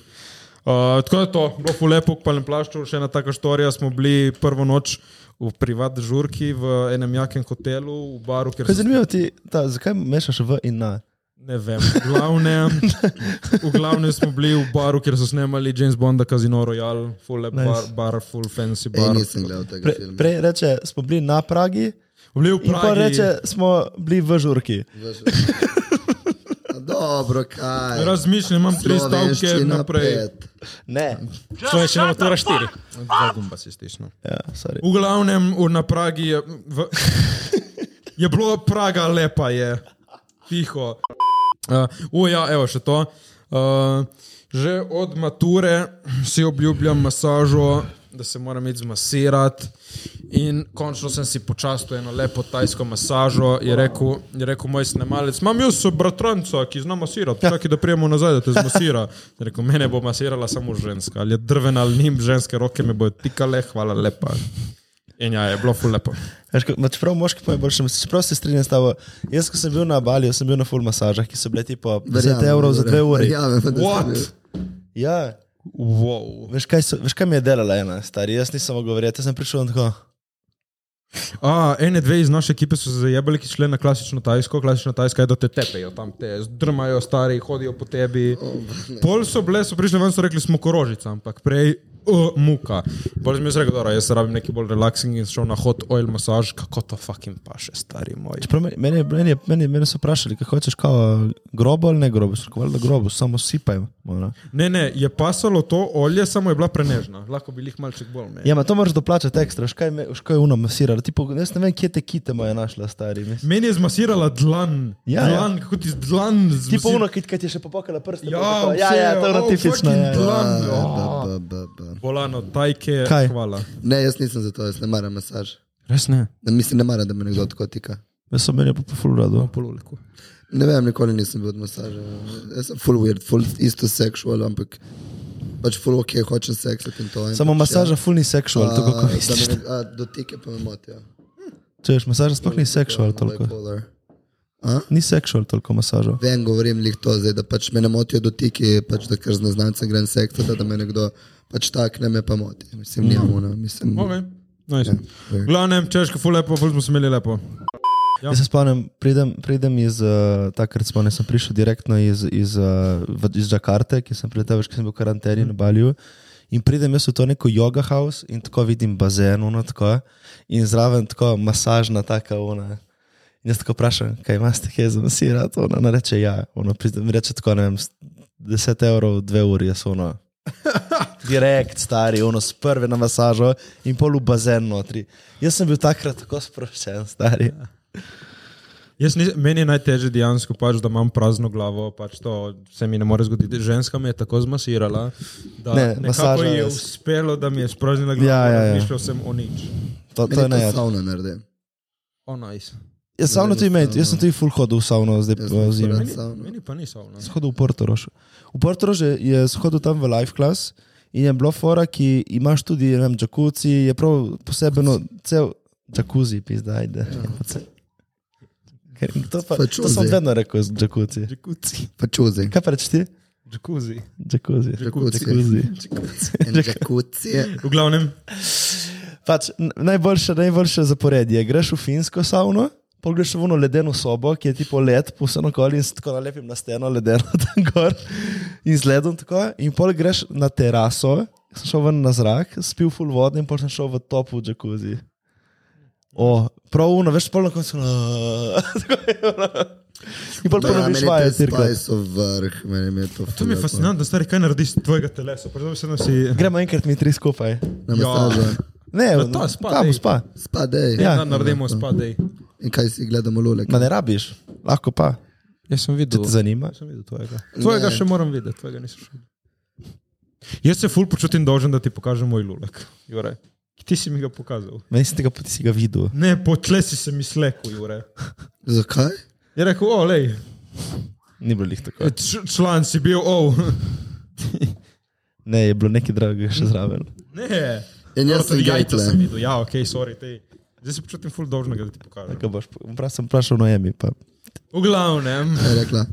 S2: Uh, tako je to, bilo je lepo, pa ne plašču, še ena taka storija. Smo bili prvo noč v privat žurki v enem jakem hotelu, v baru, kjer
S3: Kaj je zanimivo ti, ta, zakaj mešaš v in na?
S2: Ne vem, v glavnem, v glavnem smo bili v baru, kjer so snemali James Bonda, Casino Royale, full lep nice.
S3: Nice.
S2: bar, bar, full fancy
S1: Ej,
S2: bar.
S1: nisem gledal tega
S3: Pre,
S1: filma.
S3: prej reče, smo bili na Pragi
S2: Bili v
S3: in pa
S2: Pragi.
S3: reče, smo bili v žurki.
S1: Veš. A Dobro, kaj.
S2: Razmišljam, imam tri stavke
S1: Slovenščina
S2: naprej.
S1: pet.
S3: Ne.
S5: Slovenščina matura 4.
S2: Dva gumba si stisnil.
S3: Ja, sorry.
S2: V glavnem, v- na Pragi je, v, je bilo Praga lepa, je tiho. Uh, Uja, evo še to. Uh, že od mature si obljubljam masažo, da se moram iti zmasirati. In končno sem si počastil eno lepo tajsko masažo. Je rekel, je rekel moj snemalec, imam jaz bratranca, ki zna masirati, čakaj, da prijemo nazaj, da te zmasira. Je rekel, mene bo masirala samo ženska, ali je drvena ali nim, ženske roke me bojo tikale, hvala lepa. In ja, je bilo ful lepo.
S3: Veš, ko- ma Čeprav moški pa je boljši, čeprav se strinjam s tabo. Jaz, ko sem bil na Balju, sem bil na full masažah, ki so bile tipo 10 evrov za 2 uri.
S1: Verjamem, da sem
S2: What?
S1: bil.
S3: Ja,
S2: Wow.
S3: veš kaj, so, veš, kaj mi je delala ena stara, jaz nisem mogel verjeti, jaz sem prišel in tako.
S2: A, ene dve iz naše ekipe so se zajebali, ki so šli na klasično tajsko. Klasična tajska je, da te tepejo, tam te drmajo, stari hodijo po tebi. Pol so bile, so prišli ven, so rekli, smo korožica, ampak prej uh, muka. Bolj sem jaz rekel, da jaz rabim neki bolj relaxing in sem šel na hot oil masaž, kako to fucking paše, stari moj.
S3: Čeprav meni- Mene, je- meni, je- meni, meni so vprašali, kaj hočeš, kao, grobo ali ne grobo, sem rekel, da grobo, samo sipaj. Mora.
S2: Ne, ne, je pasalo to olje, samo je bila prenežna, lahko bi jih malček bolj imel.
S3: Ja, ma to moraš doplačati ekstra, veš, kaj, me- veš, kaj je uno masiralo. Tipo, jaz ne vem, kje te kite moje našla, stari. mislim.
S2: Meni je zmasirala dlan,
S3: Ja, ja.
S2: dlan, kako ti z dlan
S3: Tipo
S2: zmasira.
S3: uno, ki, ki ti je še popakala prste.
S2: Ja,
S3: pa tako, ja,
S2: vse,
S3: ja, to je
S2: oh,
S3: ratifično.
S2: fucking
S3: Ja, ja.
S2: dlan.
S1: Ba, ba, ba, ba.
S2: Bolano, tajke,
S3: Kaj?
S2: hvala.
S1: Ne, jaz nisem za to, jaz ne maram masaž.
S2: Res ne,
S1: Ne, Mislim, ne maram, da me nekdo tako tika.
S3: Jaz sem meni je pa po Ja, full rado.
S2: pololiko.
S1: Ne vem, nikoli nisem bil od masaža. Jaz sem full weird, full isto seksual, ampak pač full ok, hočem seksati in to. In
S3: Samo
S1: pač,
S3: masaža full ni seksual,
S1: A,
S3: tako kot
S1: da
S3: misliš.
S1: me ne- a, Dotike pa me motijo.
S3: Če veš, masaža sploh ni seksual toliko.
S1: Bipolar.
S3: Ni seksual toliko masažo.
S1: Vem, govorim lih to zdaj, da pač me ne motijo dotiki, pač da ker z neznancem grem seksati, da me nekdo pač takne, me pa moti.
S3: Mm.
S1: Mislim, njemu, no, mislim.
S2: Okay. Nice.
S3: Ja,
S2: V glavnem, češko, ful lepo, ful smo se imeli lepo. Ja.
S3: Jaz se spomnim, pridem, pridem iz, uh, takrat spomnim, sem prišel direktno iz, iz, uh, iz Džakarte, ki sem priletel, veš, ki sem bil v karanteni na Balju. In pridem jaz v to neko yoga house in tako vidim bazen, uno tako, in zraven tako masažna taka ona. In jaz tako vprašam, kaj imaš kaj za masirati, ona, ona reče ja, ona pride- mi reče tako, ne vem, s- 10 evrov, 2 uri, jaz ono. Direkt, stari, ono s prve na masažo in pol v bazen notri. Jaz sem bil takrat tako sproščen, stari. Ja.
S2: Jaz nis, meni je najtežje dejansko, pač, da imam prazno glavo, pač to se mi ne more zgoditi. Ženska me je tako zmasirala, da
S3: Ne,
S2: ne, nekako
S3: masaža
S2: ji je
S3: res.
S2: uspelo, da mi je spraznila glavo.
S3: Ja, ja, ja.
S2: Razmišljal sem o nič.
S3: To, to je
S1: Meni
S3: Ja,
S1: je to
S3: najjače.
S1: savna naredi.
S2: O nice.
S3: Jaz savno tudi imam, jaz sem tudi full hodil v savno, zdaj
S1: Jaz
S3: pa
S1: sem
S3: zime.
S1: full Savno.
S2: Meni pa ni savno.
S3: Sem hodil v Portorož. V Portorož je- je shodil tam v live class in je bilo fora, ki imaš tudi, ne vem, džakuci, je prav posebno, cel džakuzi, pizda, ajde.
S1: Ja.
S3: Ker To, pa,
S1: Pa
S3: to sem
S1: jacuzzi.
S3: vedno rekel z džakuci.
S2: Džekuci.
S1: Pa čuzi.
S3: Kaj pa rečeš ti?
S2: Džekuzi.
S3: Džakuzi.
S1: Jacuzzi.
S3: Jacuzzi.
S1: Džakucije.
S2: V glavnem,
S3: Pač, n- najboljše, najboljše zaporedje. Greš v finsko savno, pa greš v eno ledeno sobo, ki je tipo led, posebno koli in se tako nalepim na steno ledeno tam gor in z ledom tako. In pol greš na teraso, sem šel ven na zrak, spil full vode in pol sem šel v top v džakuzi. O, prav uno, veš, polno kot sem. no, In pol ponoviš vaje, cirka.
S1: Spaj so vrh, meni je to.
S2: to mi je fascinantno, stari, kaj narediš s tvojega telesa. Predvsem se nam si...
S3: Gremo enkrat mi tri skupaj.
S1: Na masažu.
S3: Ne,
S2: Na ta spa,
S3: tam
S2: dej.
S3: spa.
S1: Spadej.
S3: Ja.
S2: Ja, naredimo spadej.
S1: In kaj si gledamo, lulek?
S3: Ma ne rabiš, lahko pa.
S2: Jaz sem videl.
S3: Te zanima?
S2: Jaz sem videl tvojega. Tvojega
S1: Ne.
S2: še moram videti, tvojega nisem še videl. Jaz se ful počutim dolžen, da ti pokažem moj lulek. Jure. Ti si mi ga pokazal.
S3: Meni si tega poti si ga videl.
S2: Ne, potle si se mi slekel, Jure.
S1: Zakaj?
S2: Je rekel, olej,
S3: Ni bilo jih tako.
S2: član si bil, o.
S3: Ne, je bilo nekaj dragega še zraven.
S2: Ne.
S1: In jaz
S2: Dobro,
S1: Ja, sem
S2: tudi jajca
S1: gejtle.
S2: sem videl. Ja, ok, sorry, te. Zdaj se počutim ful dolžnega, da ti pokažem.
S3: Kaj boš? Prav sem vprašal Noemi, pa
S2: V glavnem,
S1: Kaj je Ja, rekla?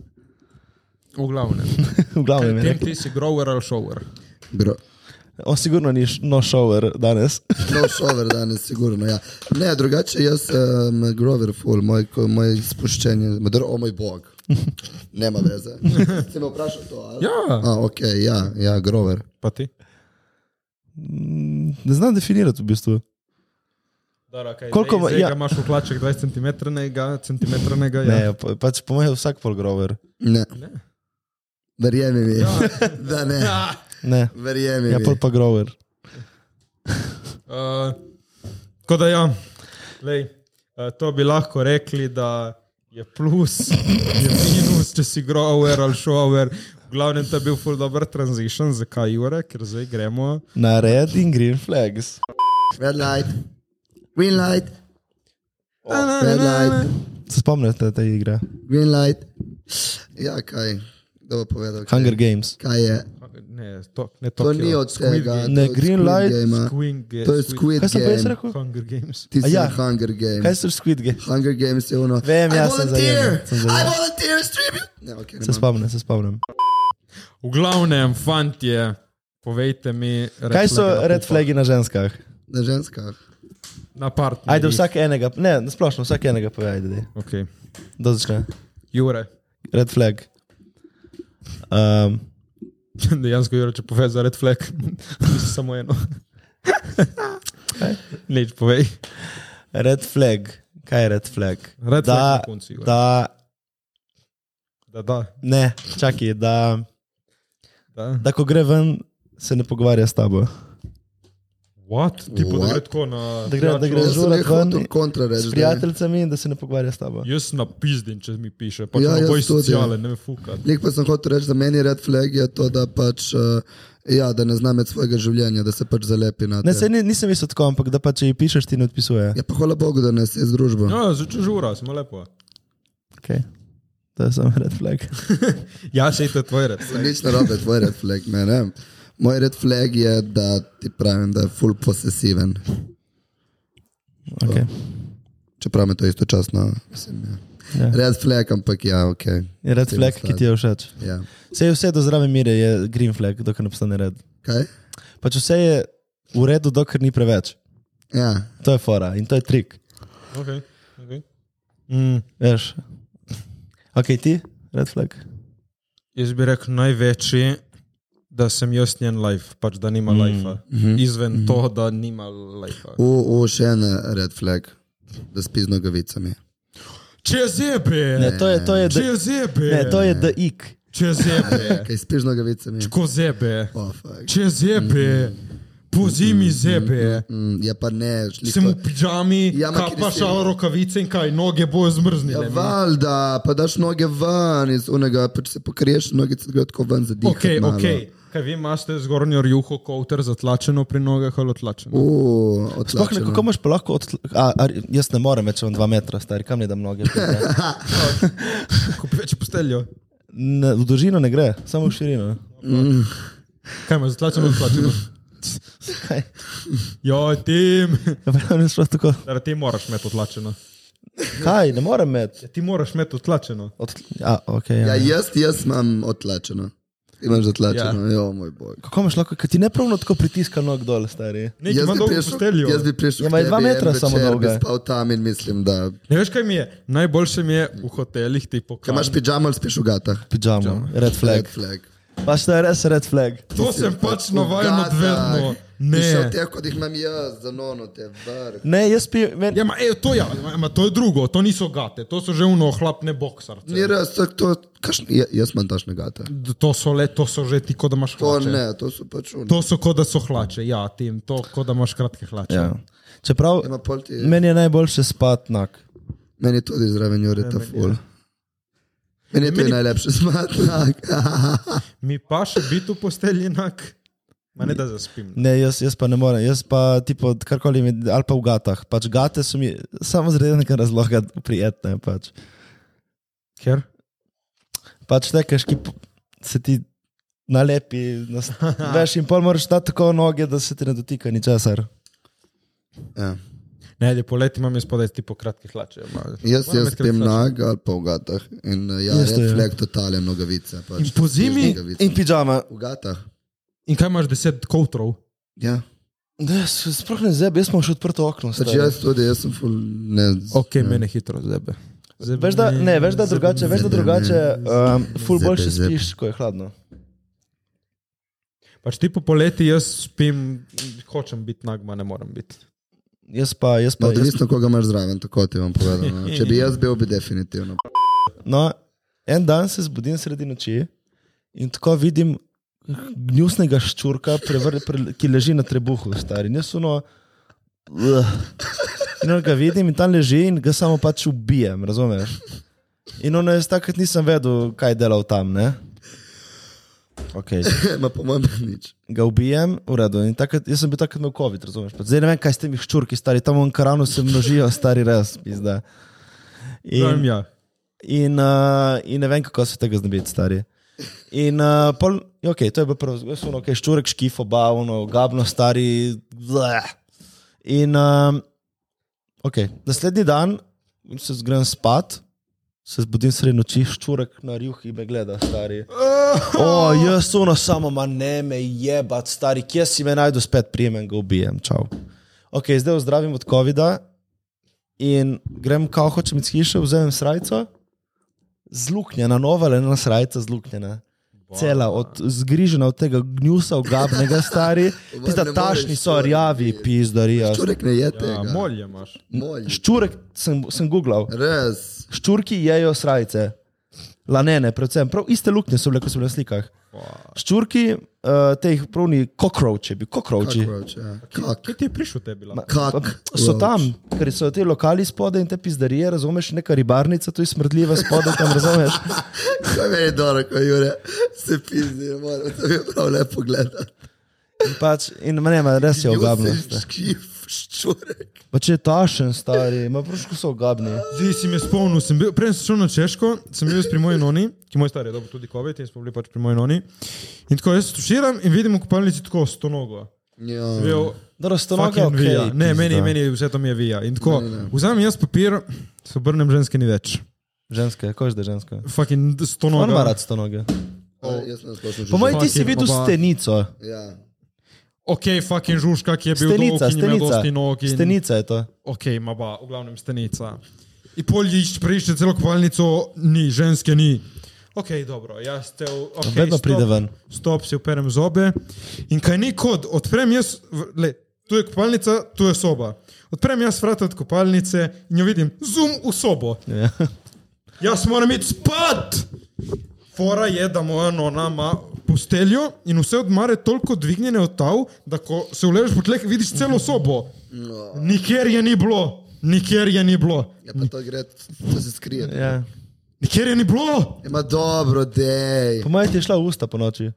S2: v glavnem.
S3: v glavnem je
S2: Tem
S3: rekel.
S2: ti si grower ali shower.
S1: Gro.
S3: On sigurno ni š- no šover danes.
S1: No, šover danes, sigurno. Ja. Ne, drugače jaz sem um, Grover Full, moj, ko- moj spuščenje, madr, o moj bog. Nema veze. Si me vprašal to? Ali?
S2: Ja.
S1: A, ok, ja, ja, Grover.
S2: Pa ti?
S3: Mm, Ne znam definirati v bistvu.
S2: Dobro, okay,
S3: Koliko ma-
S2: zdaj, zdaj
S3: ja.
S2: ga imaš v hlačah 20 cm, centimetranega, ja.
S3: Ne, pa- pač po mojem je vsak pol grover.
S1: Ne.
S2: Ne.
S1: Verjemi mi, ja. da ne.
S3: Ne,
S1: Verjemi
S3: ja
S1: mi.
S3: pol pa grover.
S2: Eh, Uh, tako da, ja, Lej, uh, to bi lahko rekli, da je plus, je minus, če si grower ali šover. V glavnem, to je bil full dobro transition, zakaj Jure, ker zdaj gremo.
S3: Na red in green flags.
S1: Red light, green light, red light,
S3: Se spomnite te igre?
S1: green light. Ja, kaj, da bo povedal. Kaj,
S3: Hunger Games.
S1: kaj je?
S2: Ne, to, ne
S1: To
S2: Tokio,
S1: ni od
S2: Squid
S1: tega.
S2: Game,
S3: Ne,
S1: to je od
S3: green
S1: Squid
S3: light,
S1: Gamea.
S2: Squid Game.
S1: To je Squid
S3: Kaj sem pa jaz
S1: Game.
S3: rekel?
S2: Hunger Games.
S1: Ti si
S3: A ja.
S1: ja. Hunger Game.
S3: Kaj so Squid Games?
S1: Hunger Games je ono.
S3: Vem,
S1: I
S3: ja, sem
S1: volunteer,
S3: zajemal, sem
S1: I
S3: zajemal.
S1: volunteer as tribute. Ne, okay, ne
S3: Se
S1: bom.
S3: spomnim, se spomnim.
S2: V glavnem, fantje, povejte mi,
S3: Kaj so red
S2: flagi
S3: flagi na ženskah?
S1: Na ženskah.
S2: na partnerju?
S3: Ajde, vsak enega, ne, na splošno, vsak enega pove, ajde. daj.
S2: Okay.
S3: Kdo začne?
S2: Jure,
S3: Red flag. Um,
S2: dejansko Jure, če poveš za red flag, misliš samo eno. Nič povej.
S3: red flag. Kaj je red flag?
S2: Red da, flag
S3: da,
S2: na koncu, Jure. Da,
S3: da,
S2: da, da,
S3: ne, čakaj, da,
S2: da.
S3: da ko gre ven, se ne pogovarja s tabo.
S2: What? Ti pa da
S1: What?
S2: gre tako na...
S3: Da gre- da gre
S1: Jaz
S2: pijačo?
S1: sem
S3: Žurat
S1: jih
S3: ven
S1: hotel
S3: in-
S1: kontra reči.
S3: S prijateljicami in da se ne pogovarja s tabo.
S2: Jaz napizdim, če mi piše, pa
S1: Ja,
S2: ja,
S1: jaz
S2: boj
S1: tudi, ja.
S2: sociale, ne me fuka.
S1: Lik pa sem hotel reči, da meni je red flag je to, da pač, uh, ja, da ne znam med svojega življenja, da se pač zalepi na
S3: Ne, se
S1: to.
S3: ni, nisem mislil tako, ampak da pa če ji pišeš, ti ne odpisuje.
S1: Ja, pa hvala Bogu, da ne se je z družbo.
S3: No.
S2: Ja, začneš ura, smo lepo.
S3: Okay. To je samo red flag.
S2: Ja, sej to je tvoj red flag.
S1: Nič narobe, tvoj red flag, ne vem. Moj red flag je, da ti pravim, da je full posesiven.
S3: Okay.
S1: Čeprav me to istočasno. Mislim, ja.
S3: Ja.
S1: Red flag, ampak ja, ok.
S3: Je red
S1: Tem
S3: flag, ki ti je všeč.
S1: Ja.
S3: Vse je vse do zdrave mire, je green flag, dokler ne postane red.
S1: Kaj?
S3: Pač vse je v redu, dokler ni preveč.
S1: Ja.
S3: To je fora in to je trik.
S2: Okay, okay. Mm.
S3: Veš. Ok, ti, red flag.
S2: Jaz bi rekel največji, da sem jaz njen life, pač da nima mm. life. Izven mm. to, da nima life.
S1: U, u, še en red flag, da spi z nogavicami.
S2: Če zebe!
S3: Ne, to je, to je, da,
S2: Če zebe!
S3: ne, to je da ik.
S2: Če zebe!
S1: Kaj spiš z nogavicami?
S2: Ko zebe!
S1: Oh, fuck.
S2: Če zebe! Po zimi zebe!
S1: Mm, ja, pa ne, šli
S2: Sem v pižami,
S1: Ja,
S2: ja,
S1: ma,
S2: pa
S1: kjer
S2: pa
S1: si-
S2: šal rokavice in kaj, noge bojo
S1: Ja,
S2: zmrznile. mi.
S1: valjda, pa daš noge ven iz unega, pač se pokriješ, noge se grejo tako ven za dih.
S2: Ok, ok. Kaj vi imate zgornjo rjuho, kouter zatlačeno pri nogah ali otlačeno?
S3: Sploh ne, kako imaš pa lahko od... A, a, jaz ne morem več, imam dva metra star, kam ne da mnoge.
S2: Kupi več posteljo.
S3: Ne, v dolžino ne gre, samo v širino.
S2: Kaj imaš zatlačeno, otlačeno?
S3: Kaj?
S2: Jo, tim!
S3: Ja, pa ne sploh tako.
S2: Zdaj ti moraš imeti otlačeno.
S3: Kaj, ne morem med.
S2: Ja, ti moraš imeti otlačeno.
S3: Od, a, okay, ja.
S1: Ja, jaz, jaz imam otlačeno. Ti imaš zatlačeno, ja. jo, moj bog.
S3: Kako imaš lahko, ker ti nepravno tako pritiska nog dol, stari.
S2: Ne, ima dolgo posteljo.
S1: jaz bi prišel.
S3: Ja, ma je dva metra samo dolga
S1: Jaz
S3: je.
S1: bi spal tam in mislim, da.
S2: Ne veš, kaj mi je? Najboljše mi je v hotelih ti
S1: Kaj imaš
S2: pokažeš.
S1: pižamo ali spiš v gatah?
S3: Pidžamo, red flag.
S1: Red flag.
S3: Pač to je res red flag.
S2: To sem pač navajen
S1: V
S2: od vedno.
S1: gatah. Pišel
S2: Ne.
S1: te, kot jih imam jaz, za nono te vrh.
S3: Ne, jaz pi... Men,
S2: Ja, ma, e, to, ja, ma, ma, to je drugo, to niso gate, to so že uno ohlapne boksarce.
S1: Ni res, to, to kašn, ja- jaz imam tašne gate.
S2: D- To so, le, to so že ti, kot da imaš
S1: To
S2: hlače.
S1: ne, to so pač unije.
S2: to so kot da so hlače, ja, tim, to kot da imaš kratke hlače.
S3: ja. Čeprav
S1: Ima pol ti.
S3: meni je najboljše spati nog.
S1: Meni tudi zraven Jure ta ful. Meni je to
S2: Meni-
S1: najlepše smatno.
S2: Mi pa še biti v postelji enak, ma ne da zaspim.
S3: Ne, jaz, jaz pa ne morem, jaz pa tipo, karkoli mi, ali pa v gatah. Pač gate so mi samo zaradi nekega razloga prijetne. Pač,
S2: Ker?
S3: pač tekaš, ki po- se ti nalepi, na, s- veš, in pol moraš dati tako noge, da se ti ne dotika ničesar.
S1: Ja.
S2: Ne, lepo leti imam jaz podaj ti po kratkih hlače. Ma,
S1: Jaz,
S2: moram
S1: jaz
S2: imeti kratke
S1: spim
S2: hlače.
S1: nag ali pa v gatah. In uh, ja,
S3: Jaz to,
S1: red
S3: ja.
S1: flag totale nogavice. Pač.
S2: In po zimi
S1: Nogavice.
S3: In pižama.
S1: V gatah.
S2: In kaj imaš deset koutrov?
S1: Ja.
S3: Ne, s- sploh ne zebe, jaz imam še odprto okno.
S1: Pač
S3: stari.
S1: jaz tudi, jaz sem ful ne.
S2: Ok, ja. mene hitro zebe. zebe
S3: Veš da, ne, veš da drugače, veš da
S1: zebe me.
S3: drugače, um, ful
S1: Zebe,
S3: boljše
S1: zebe.
S3: spiš, ko je hladno.
S2: Pač ti po poleti jaz spim, hočem biti nagma, ne morem biti.
S3: Jaz pa, jaz pa,
S1: No,
S3: jaz,
S1: odvisno koga imaš zraven, tako ti bom povedal. No. Če bi jaz bil, bi definitivno.
S3: no, en dan se zbudim sredi noči in tako vidim gnusnega ščurka, prevr, pre, ki leži na trebuhu, stari. In jaz uno, uh, in on ga vidim in tam leži in ga samo pač ubijem, razumeš? In ono jaz takrat nisem vedel, kaj je delal tam. Ne? Okay.
S1: Ma po mojem nič.
S3: Ga ubijem, v redu. In Takrat, jaz sem bil takrat imel COVID, razumeš? Pa Zdaj ne vem, kaj s temi ščurki, stari tam v Ankaranu se množijo, stari res, pizda.
S2: Pravim
S3: In,
S2: ja.
S3: in, uh, in ne vem, kako se tega znebiti, stari. In uh, pol, okay, to je bilo prvo, jaz sem okay, ščurek, škifo, bavno, gabno, stari. Bleh. In um, okay. naslednji dan se zgrem spat, se zbudim sredi noči, ščurek na rjuhi me gleda, stari. O, jaz suno samo, ma ne me jebat, stari, kje si me najdu, spet prijemem, ga ubijem, čau. Ok, zdaj ozdravim od COVID-a in grem, kao hočem iz hiše, vzamem srajco, zluknjena, nova lena srajca, zluknjena. Cela, od, zgrižena od tega gnjusa, ogabnega, stari.
S1: ne
S3: Tista
S1: moreš
S3: tašni ja, so
S1: to
S3: rjavi,
S1: narediti.
S3: pizdarija.
S1: Čurek ne je tega.
S2: ja molje imaš.
S1: Moj.
S3: Ščurek sem, sem googlal.
S1: Res.
S3: Ščurki jejo srajce, lanene, predvsem. Prav iste luknje so bile, ko so bile na slikah. Ščurki, uh, te jih pravni kokroči, bi kokroči.
S1: Cockroach, ja. Kak.
S2: Kaj ti je prišel tebi? bila?
S1: Kak.
S3: So tam, ker so ti lokali spodaj in te pizdarije, razumeš, neka ribarnica, tu je smrdljiva spodaj, tam razumeš.
S1: Kaj me je dobro, ko Jure se pizdi, ne morem, to mi je prav lepo gledati.
S3: In, pač, in ne, ma, res je ogabno.
S1: Škif, ščurek.
S3: Pa če je tašen, stari, ima praško so ogabni.
S2: Zdaj si me spomnil, sem bil, prej sem šel na Češko, sem bil jaz pri moji noni, ki moj star je dobil tudi COVID in smo bili pač pri moji noni. In tako jaz tuširam in vidim v kopalnici tako sto nogo.
S1: Ja.
S2: Bil,
S3: Dobro, stonoga
S2: fucking
S3: je
S2: vija.
S3: okay,
S2: Ne,
S3: pizda.
S2: meni, meni vse to mi je vija. In tako, vzamem jaz papir, se obrnem ženske ni več.
S3: Ženske, kož da ženske.
S2: Fucking sto
S3: On ima
S2: noga.
S3: rad stonoge.
S1: Ja, Jaz sem splošno
S3: Po mojem, ti si
S2: Fucking
S3: videl
S2: oba.
S3: stenico.
S1: Ja.
S2: Ok, fucking žužka, ki je bil
S3: Stenica,
S2: dolg in imel
S3: stenica.
S2: dosti nog. In...
S3: Stenica je to.
S2: ok, ima pa, v glavnem stenica. In pol išč, preišče celo kopalnico, ni, ženske ni. Ok, dobro, jaz te v- okay,
S3: Vedno
S2: stop,
S3: pride ven.
S2: Stop, si uperem zobe. In kaj ni kod, odprem jaz, v- le, tu je kopalnica, tu je soba. Odprem jaz vrata od kopalnice in jo vidim, zum v sobo.
S3: Ja.
S2: Jaz moram iti spat! Fora je, da moja nona ima posteljo in vse odmare toliko dvignjene od tav, da ko se uležeš po tleh, vidiš celo sobo. Nikjer je ni bilo, nikjer je ni bilo,
S1: No. Ja, pa to gre, to se skrije. Ja.
S3: Ja.
S2: nikjer je ni bilo.
S1: Ima dobro, dej.
S3: Po mojem ti je šla usta po noči.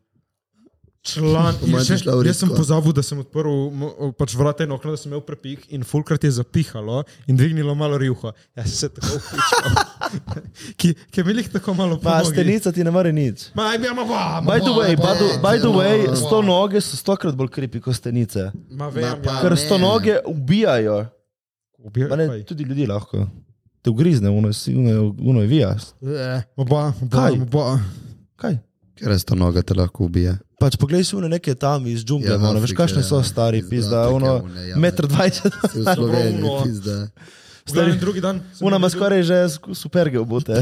S2: Član, in
S1: mojem
S2: še,
S1: je šla v
S2: jaz sem
S1: ritko.
S2: pozabil, da sem odprl mo- pač vrata in okno, da sem imel prepih in fulkrat je zapihalo in dvignilo malo rjuha. Jaz sem se tako vpičal. ki, ki mi jih tako malo
S3: Ma,
S2: pomeni.
S3: stenica ti ne more nič.
S2: Ma, ja, ma, ma, ma,
S3: By the way, by the, by the way
S1: Ma,
S3: sto noge so stokrat bolj kripi kot stenice.
S2: ma, vem,
S1: Ma,
S2: ja.
S1: pa-
S3: Ker sto noge ubijajo.
S2: Ubijaj,
S3: Ma
S2: kaj?
S3: Ne, tudi ljudi lahko. Te ugrizne, uno je, si- uno je, uno je vija.
S2: Oba, oba,
S3: Kaj?
S2: oba.
S3: Kaj?
S1: Ker res ta noga te lahko ubije.
S3: Pač poglej si uno neke tam iz džungle,
S1: Ja,
S3: ja, ono, veš
S1: Afrike,
S3: kakšne so
S1: ja.
S3: stari,
S1: Iz
S3: pizda,
S1: Afrike,
S3: ono,
S1: one, ja.
S3: metr dvajset.
S1: Si v Sloveniji,
S2: Dobro, uno.
S1: pizda.
S2: Zdaj, drugi dan. sem
S3: Una ima
S2: videl-
S3: skoraj že sku- superge obute.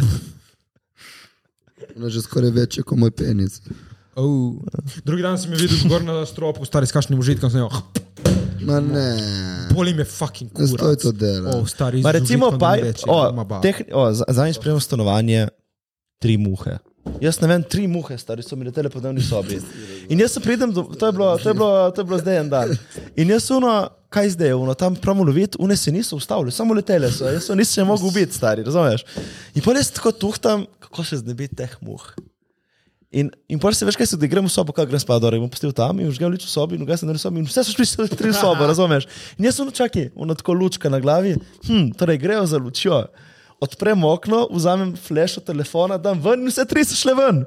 S1: Ono je že skoraj večje kot moj penis.
S2: Oh. Drugi dan sem jo videl zgor na stropu, stari s kašnim užitkom, sem jo,
S3: Ja.
S1: Ma ne.
S2: bolim je fucking
S1: Ne
S2: kurac. Oh,
S1: stoji to delo.
S2: O, stari, z
S3: Ma recimo,
S2: užitkom
S3: pa,
S2: ne reče, ma ba.
S3: o, teh, o, za- zadnjič spremljam stanovanje, tri muhe. Jaz ne vem, tri muhe, stari so mi letele po dnevni sobi. In jaz se pridem, do, to, je bilo, to, je bilo, to je bilo zdaj en dan. In jaz uno, kaj zdaj je uno, tam pravno loviti, une se niso ustavili, samo letele so, jaz se nisem mogel ubiti, stari, razumeš? In pa jaz tako tuhtam, kako se znebiti teh muh. In, in pa se veš, kaj se da gremo v sobo, kaj grem spat, da bom postil tam in žgal luč v sobi, in ga sem na sobi, in vse so šli v tri sobe, razumeš? In jaz sem čakal, ono tako lučka na glavi, hm, torej grejo za lučjo. Odprem okno, vzamem flash od telefona, dam ven in vse tri so šle ven.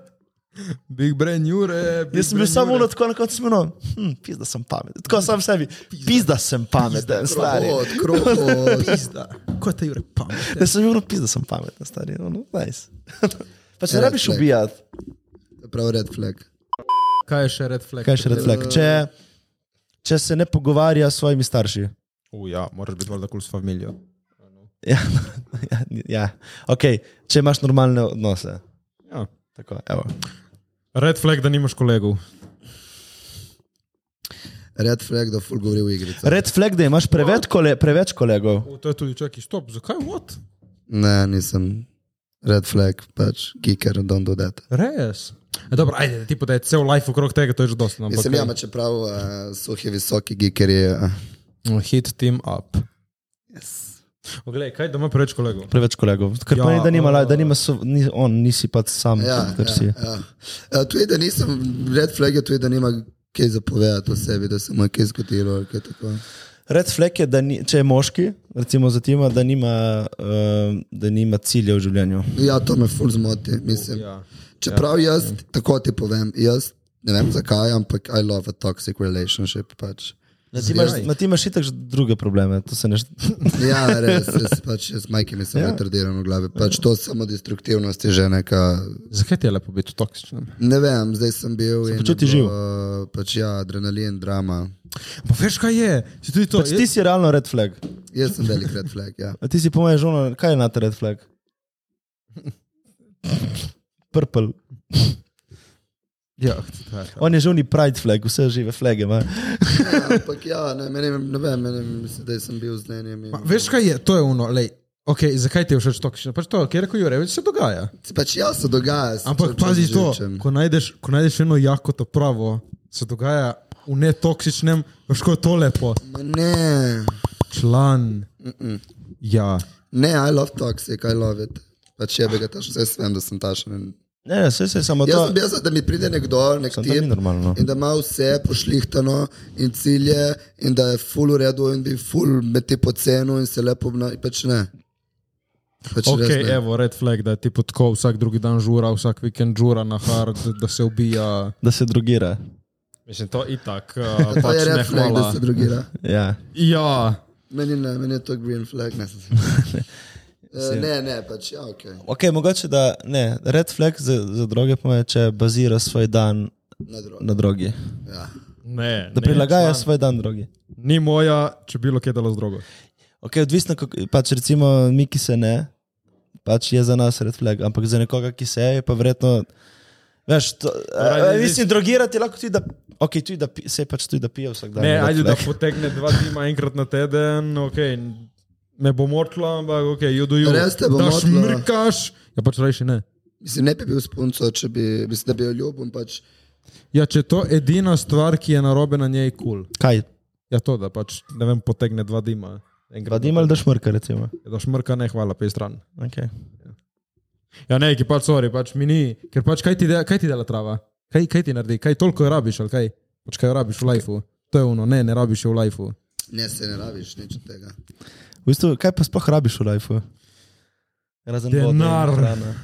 S2: Big brain Jure. Big
S3: Jaz sem bil
S2: brain
S3: samo
S2: Jure.
S3: ono tako na koncu smeno, hm, pizda sem pameten, tako sam sebi, pizda sem pameten, stari.
S1: Od krohot.
S2: Pizda. Ko te Jure pameti?
S3: Da sem bil, ono, pizda sem pameten, stari, ono, nice. Pa se ne
S1: Red
S3: rabiš
S1: flag.
S3: ubijati.
S1: Prav red flag.
S2: Kaj je še red flag?
S3: Kaj je še red flag? Če, če se ne pogovarja s svojimi starši.
S2: Uja, ja, moraš biti valjda kul s familijo.
S3: Ja, ja, ja. Okay. Če imaš normalne odnose.
S2: Ja.
S3: Tako, evo.
S2: Red flag, da nimaš kolegov.
S1: Red flag, da ful govori v igrici.
S3: Red flag, da imaš preveč, kole, preveč kolegov.
S2: O, to je tudi čakaj, stop, zakaj what?
S1: Ne, nisem. Red flag, pač, geeker, don't do that.
S2: Res. E, dobro, ajde, ti pa da je cel life okrog tega, to je že dosti. ampak-
S1: Mislim, ja, ma čeprav uh, eh.
S2: eh,
S1: suhi, visoki geekeri. Uh,
S2: Hit team up. Poglej, kaj doma preveč kolegov?
S3: Preveč kolegov. Ker
S2: Ja,
S3: ja, pomeni, da nima,
S2: eh,
S3: la- da nima so, ni, on, nisi pač sam,
S1: Ja,
S3: ker si.
S1: ja, ja. Eh, Tu je, da nisem, red flag je tu, je, da nima kaj zapovedati o sebi, da se mu je kaj zgodilo ali kaj tako.
S3: Red flag je, da ni, če je moški, recimo za tima, da nima, uh, da nima cilja v življenju.
S1: Ja, to me ful zmoti, mislim.
S2: Ja.
S1: Čeprav jaz, tako ti povem, jaz ne vem zakaj, ampak I love a toxic relationship. Pač.
S3: Na ti imaš, Ja, na ti imaš itak že druge probleme, to se ne šteje.
S1: Ja, res, jaz pač jaz majke mi sem
S3: Ja.
S1: retardiran v glavi. Pač to samo destruktivnost je že neka,
S2: Zakaj ti je lepo biti toksičen?
S1: ne vem, zdaj sem bil. in je
S3: počutiš
S1: bilo, Pač ja, adrenalin, drama.
S2: Pa veš, kaj No, je? Si tudi to.
S3: Pač ti si realno red flag.
S1: Jaz sem velik red flag, ja.
S3: A ti si pomeni žona, kaj je na te red flag? Purple.
S2: Ja, to je.
S3: On je žoni pride flag, vse žive flage ima.
S1: ja ampak ja, ne, meni, ne vem, meni, mislim, da sem bil z njenim. in-
S2: Ma, veš, kaj je? To je ono, lej. Okay, zakaj ti je všeč toksično? Pač to, kjer rekel Jurek, se dogaja.
S1: Pač ja, se dogaja. se
S2: Ampak
S1: čutim,
S2: pazi
S1: že
S2: to,
S1: učim.
S2: ko najdeš, ko najdeš eno jako to pravo, se dogaja v netoksičnem, veš, ko je to lepo.
S1: Ma Ne,
S2: Član. Ja.
S1: ne, I love toxic, I love it. Pač je bega tašen, jaz vem, da sem tašen. in-
S3: Ne, ne, vse je samo
S1: Jaz
S3: to.
S1: sem bil, za, da mi pride nekdo, nek
S3: Samo to
S1: tip
S3: ni normalno.
S1: in da ima vse pošlihtano in cilje in da je full uredu in bi full meti po cenu in se lepo obnaša. Pač ne. Pač
S2: Ok,
S1: res ne.
S2: evo, red flag, da je ti potko vsak drugi dan žura, vsak vikend žura na hard, da se ubija.
S3: Da se drogira.
S2: Mislim, to itak,
S1: To
S2: uh,
S1: je
S2: pač ne
S1: red flag, da
S2: hvala.
S1: se drugira.
S3: Ja.
S2: Ja,
S1: Meni ne, meni je to green flag. Ne, sem se- Eh, ne, ne, pač ja, ok.
S3: Ok, mogoče da ne. Red flag za, za droge pomeni, če bazira svoj dan
S1: Na drugo.
S3: na drogi.
S1: Ja.
S2: ne.
S3: Da
S2: ne,
S3: prilagaja
S2: član.
S3: svoj dan drogi.
S2: Ni moja, če bilo kaj delo z drogo.
S3: Ok, odvisno, kako, pač recimo mi, ki se ne, pač je za nas red flag, ampak za nekoga, ki se je, pa verjetno. Veš, to,
S2: Pravi,
S3: a, a,
S2: zdaj-
S3: mislim, drogirati je lahko tudi, da, okay, tudi da pi, se pač tudi da pije vsak dan.
S2: Ne,
S3: red
S2: ajde, da
S3: flag.
S2: potegne dva dima enkrat na teden, ok. Ne bo motla, ampak ok, you do you.
S1: Res te bo
S2: Daš
S1: motilo.
S2: mrkaš, ja pač rajši ne.
S1: Mislim, ne bi bil spunco, če bi, mislim, da bi jo ljubil. Pač,
S2: Ja, če je to edina stvar, ki je narobe na njej kul. Cool.
S3: Kaj?
S2: Ja, to da pač, ne vem, potegne dva dima. Enkrat
S3: Gradim ali da šmrka, recimo.
S2: Ja, Daš mrka, ne hvala, pej stran.
S3: Okay.
S2: Ja, ne, ki pač, sorry, pač mi ni, ker pač kaj ti, de, kaj ti dela trava? Kaj, kaj ti naredi? Kaj toliko jo rabiš, ali kaj? Pač kaj jo rabiš v lifeu? To je ono, ne, ne rabiš jo v lifeu.
S1: ne, se ne rabiš nič od tega.
S3: V bistvu, kaj pa sploh rabiš v lifeu? Razen vodo in
S2: Denar.
S3: hrano.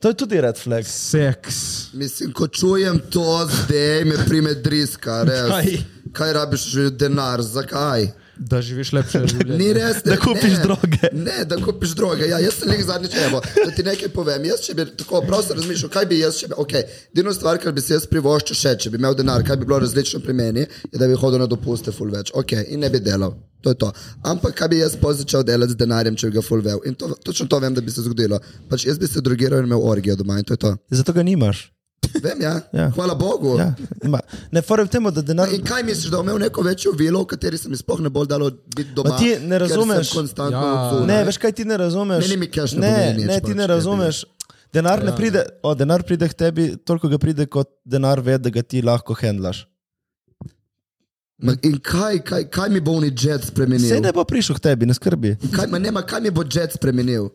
S3: To je tudi red flag.
S2: Seks.
S1: Mislim, ko čujem to zdaj, me prime driska. Res.
S2: Kaj?
S1: Kaj rabiš že denar, zakaj?
S2: Da živiš lepše življenje.
S1: Ni res,
S3: Da kupiš
S1: ne,
S3: droge.
S1: Ne, da kupiš droge. Ja, jaz sem jih zadnjič evo. Da ti nekaj povem. Jaz, če bi tako prav se razmišljal, kaj bi jaz, če bi. Okay. Edino stvar, kar bi se jaz privoščil še, če bi imel denar, kaj bi bilo različno pri meni, je, da bi hodil na dopuste ful več. Ok, in ne bi delal. To je to. Ampak kaj bi jaz pa začel delati z denarjem, če bi ga ful vev? In to, točno to vem, da bi se zgodilo. Pač jaz bi se drogiral in imel orgijo doma in to je to.
S3: Zato ga nimaš.
S1: Vem, ja.
S3: Ja.
S1: Hvala Bogu.
S3: Ja, ima. ne, fora je v tem, da denar.
S1: In kaj misliš, da bom imel neko večjo vilo, v kateri se mi sploh ne bo dalo biti doma?
S3: Ma ti ne
S1: ker sem
S3: razumeš.
S1: Konstantno
S2: Ja.
S1: odzunaj?
S3: Ne, veš kaj ti ne razumeš.
S1: Meni mi cash ne Ja.
S3: ne,
S1: pomeni nič,
S3: ne, ti
S1: pač,
S3: ne
S1: tebi.
S3: razumeš. Denar ne pride, o, denar pride k tebi, toliko ga pride, kot denar ve, da ga ti lahko handlaš.
S1: Ma In kaj, kaj, kaj mi bo oni jet spremenil?
S3: Vse ne bo prišel k tebi, ne skrbi.
S1: Kaj, ma nema, kaj mi bo jet spremenil?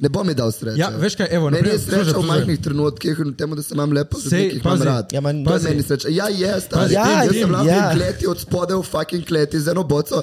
S1: Ne bo mi dal sreče.
S2: Ja, veš kaj, evo, na
S1: meni je
S2: primer,
S1: sreča
S2: slušaj,
S1: v
S2: slušaj.
S1: majhnih trenutkih in v tem, da se imam lepo z
S2: Sej,
S1: ljudmi, ki jih imam
S2: pazi,
S1: rad.
S3: ja, ma-
S1: to je
S3: pazi.
S1: meni sreča. Ja, je, stari.
S2: Pazi,
S1: Ja,
S2: ti,
S1: jaz
S3: Dim,
S1: sem lahko
S3: ja.
S1: ja. kleti od spode v fucking kleti z eno boco.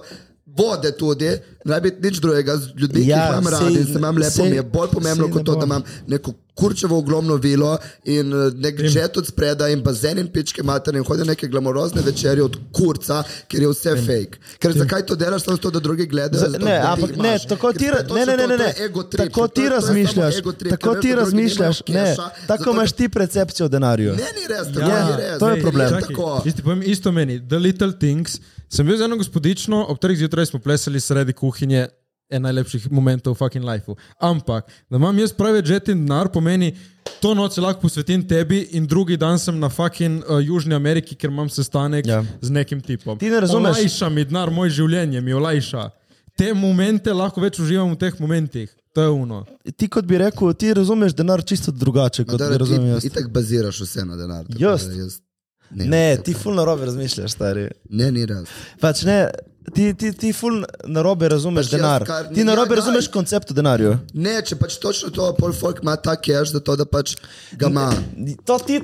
S1: Vode tudi, ne rabi nič drugega, z ljudmi, ja, ki
S3: Ja,
S1: jih imam rad
S3: sej-
S1: in se imam lepo,
S3: sej-
S1: mi je bolj pomembno
S3: sej
S1: kot
S3: ne
S1: to,
S3: bo.
S1: da imam neko kurčevo ogromno vilo in eh, nek žet od spreda in bazen in pičke mater in hodim neke glamorozne večerje od kurca, ker je vse fake. Ker zakaj to delaš, samo to, da drugi gledajo? zato, da
S3: Ne,
S1: ti
S3: ampak ne,
S1: imaš.
S3: tako
S1: Ker
S3: ti, ra-
S1: to-
S3: ne, ne, ne,
S1: to-
S3: ne,
S1: to
S3: ne.
S1: je ego trip.
S3: Tako
S1: To- to
S3: ti
S1: je samo
S3: razmišljaš,
S1: ego trip,
S3: tako
S1: ker
S3: ti
S1: veš, da drugi
S3: razmišljaš,
S1: nimajo
S3: ne,
S1: keša,
S3: tako
S1: zato,
S3: imaš
S1: da-
S3: ti percepcijo o denarju.
S1: Ne, ni res, tako
S2: Ja,
S1: ni res.
S3: to je
S1: ni
S3: problem.
S1: res
S2: čakaj,
S1: Tako. no,
S2: Jaz ti povem isto meni, The Little Things. Sem bil z eno gospodično, ob treh zjutraj smo plesali sredi kuhinje, en najlepših momentov v fucking lifeu. Ampak, da imam jaz pravi jet in denar, pomeni, to noč se lahko posvetim tebi in drugi dan sem na fucking uh, Južni Ameriki, ker imam sestanek
S3: Ja.
S2: ja. z nekim tipom.
S3: Ti ne razumeš.
S2: Olajša mi denar, moje življenje mi olajša. Te momente lahko več uživam v teh momentih. To je uno.
S3: Ti kot bi rekel, ti razumeš denar čisto drugače, kot ga razumem
S1: torej
S3: jaz.
S1: Ti tako baziraš vse na denar. tako
S3: Jaz?
S1: da jaz-
S3: Ne, ti fulno robe razmišljaš, stari.
S1: Ne, ni res.
S3: Pač ne, Ti, ti, ti ful narobe razumeš
S1: Pač jaz
S3: denar.
S1: kar-
S3: Ti narobe
S1: Ja,
S3: razumeš
S1: daj.
S3: koncept o denarju.
S1: Ne, če pač točno to, pol folk ima ta cash, da to da pač ga ima.
S3: To ti,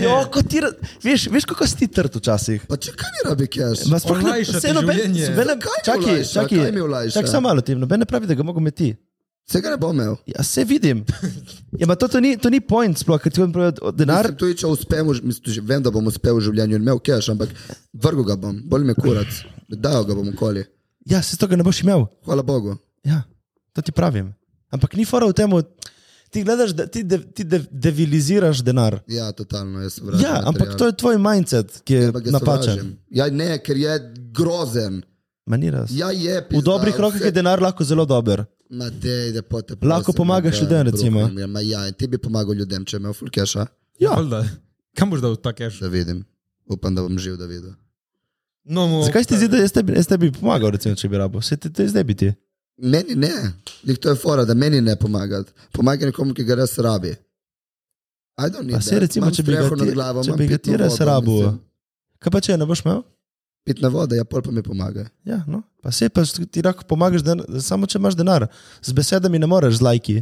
S3: jo, ko ti, ra- veš, veš kako si ti trd včasih.
S1: Pa če kaj ne rabi cash?
S3: Ma sploh ne-
S2: Olajša ti
S3: saj noben-
S2: življenje.
S3: noben-
S1: Kaj mi
S3: Čakaj,
S1: olajša?
S3: čakaj,
S1: Kaj mi olajša?
S3: čakaj, samo malo tim, noben ne pravi, da ga mogo meti.
S1: Vse ga ne bo imel.
S3: Ja, se vidim. Ja, ma to, to, ni, to ni point sploh, ker ti on pravi, o- denar
S1: Mislim, tudi če uspem, v ž- mislim, tudi, vem, da bom uspel v življenju in imel cash, ampak vrgo ga bom, bolj me kurac, dajo ga bom okoli.
S3: Ja, se tega ne boš imel.
S1: Hvala Bogu.
S3: Ja, to ti pravim. Ampak ni fora v tem, ti gledaš, da ti, de, ti de, deviliziraš denar.
S1: Ja, totalno, jaz se vračam.
S3: Ja, ampak to je tvoj mindset, ki je napačen.
S1: Ja, ne, ker je grozen.
S3: Ma ni res.
S1: Ja, je.
S3: V dobrih rokah je denar lahko zelo dober.
S1: Matej, da pote.
S3: Lahko pomagaš ljudem, recimo.
S1: Ja, ma ja, in ti bi pomagal ljudem, če je imel full casha,
S3: Ja.
S2: Valjda. Kam boš dal ta cash?
S1: da vidim. Upam, da bom živ, da vidim.
S2: No, mu,
S3: Zakaj si ti zdi, da jaz tebi, jaz tebi bi pomagal, recimo, če bi rabo? Vse ti to je zdaj biti.
S1: Meni ne, Lih, to je fora, da meni ne pomaga. Pomaga nekomu, ki ga res rabi. I don't need
S3: Pa se
S1: that.
S3: recimo,
S1: Imam
S3: če bi ga
S1: streho nad
S3: ti-
S1: glavo,
S3: če
S1: imam
S3: bi ga
S1: pitno
S3: ti res
S1: vodo,
S3: rabil.
S1: mislim.
S3: Kaj pa če je ne boš imel?
S1: Pitna voda, ja, pol pa mi pomaga.
S3: Ja, no. Pa se pa s- ti lahko pomagaš, den, samo če imaš denar. Z besedami ne moreš, z lajki.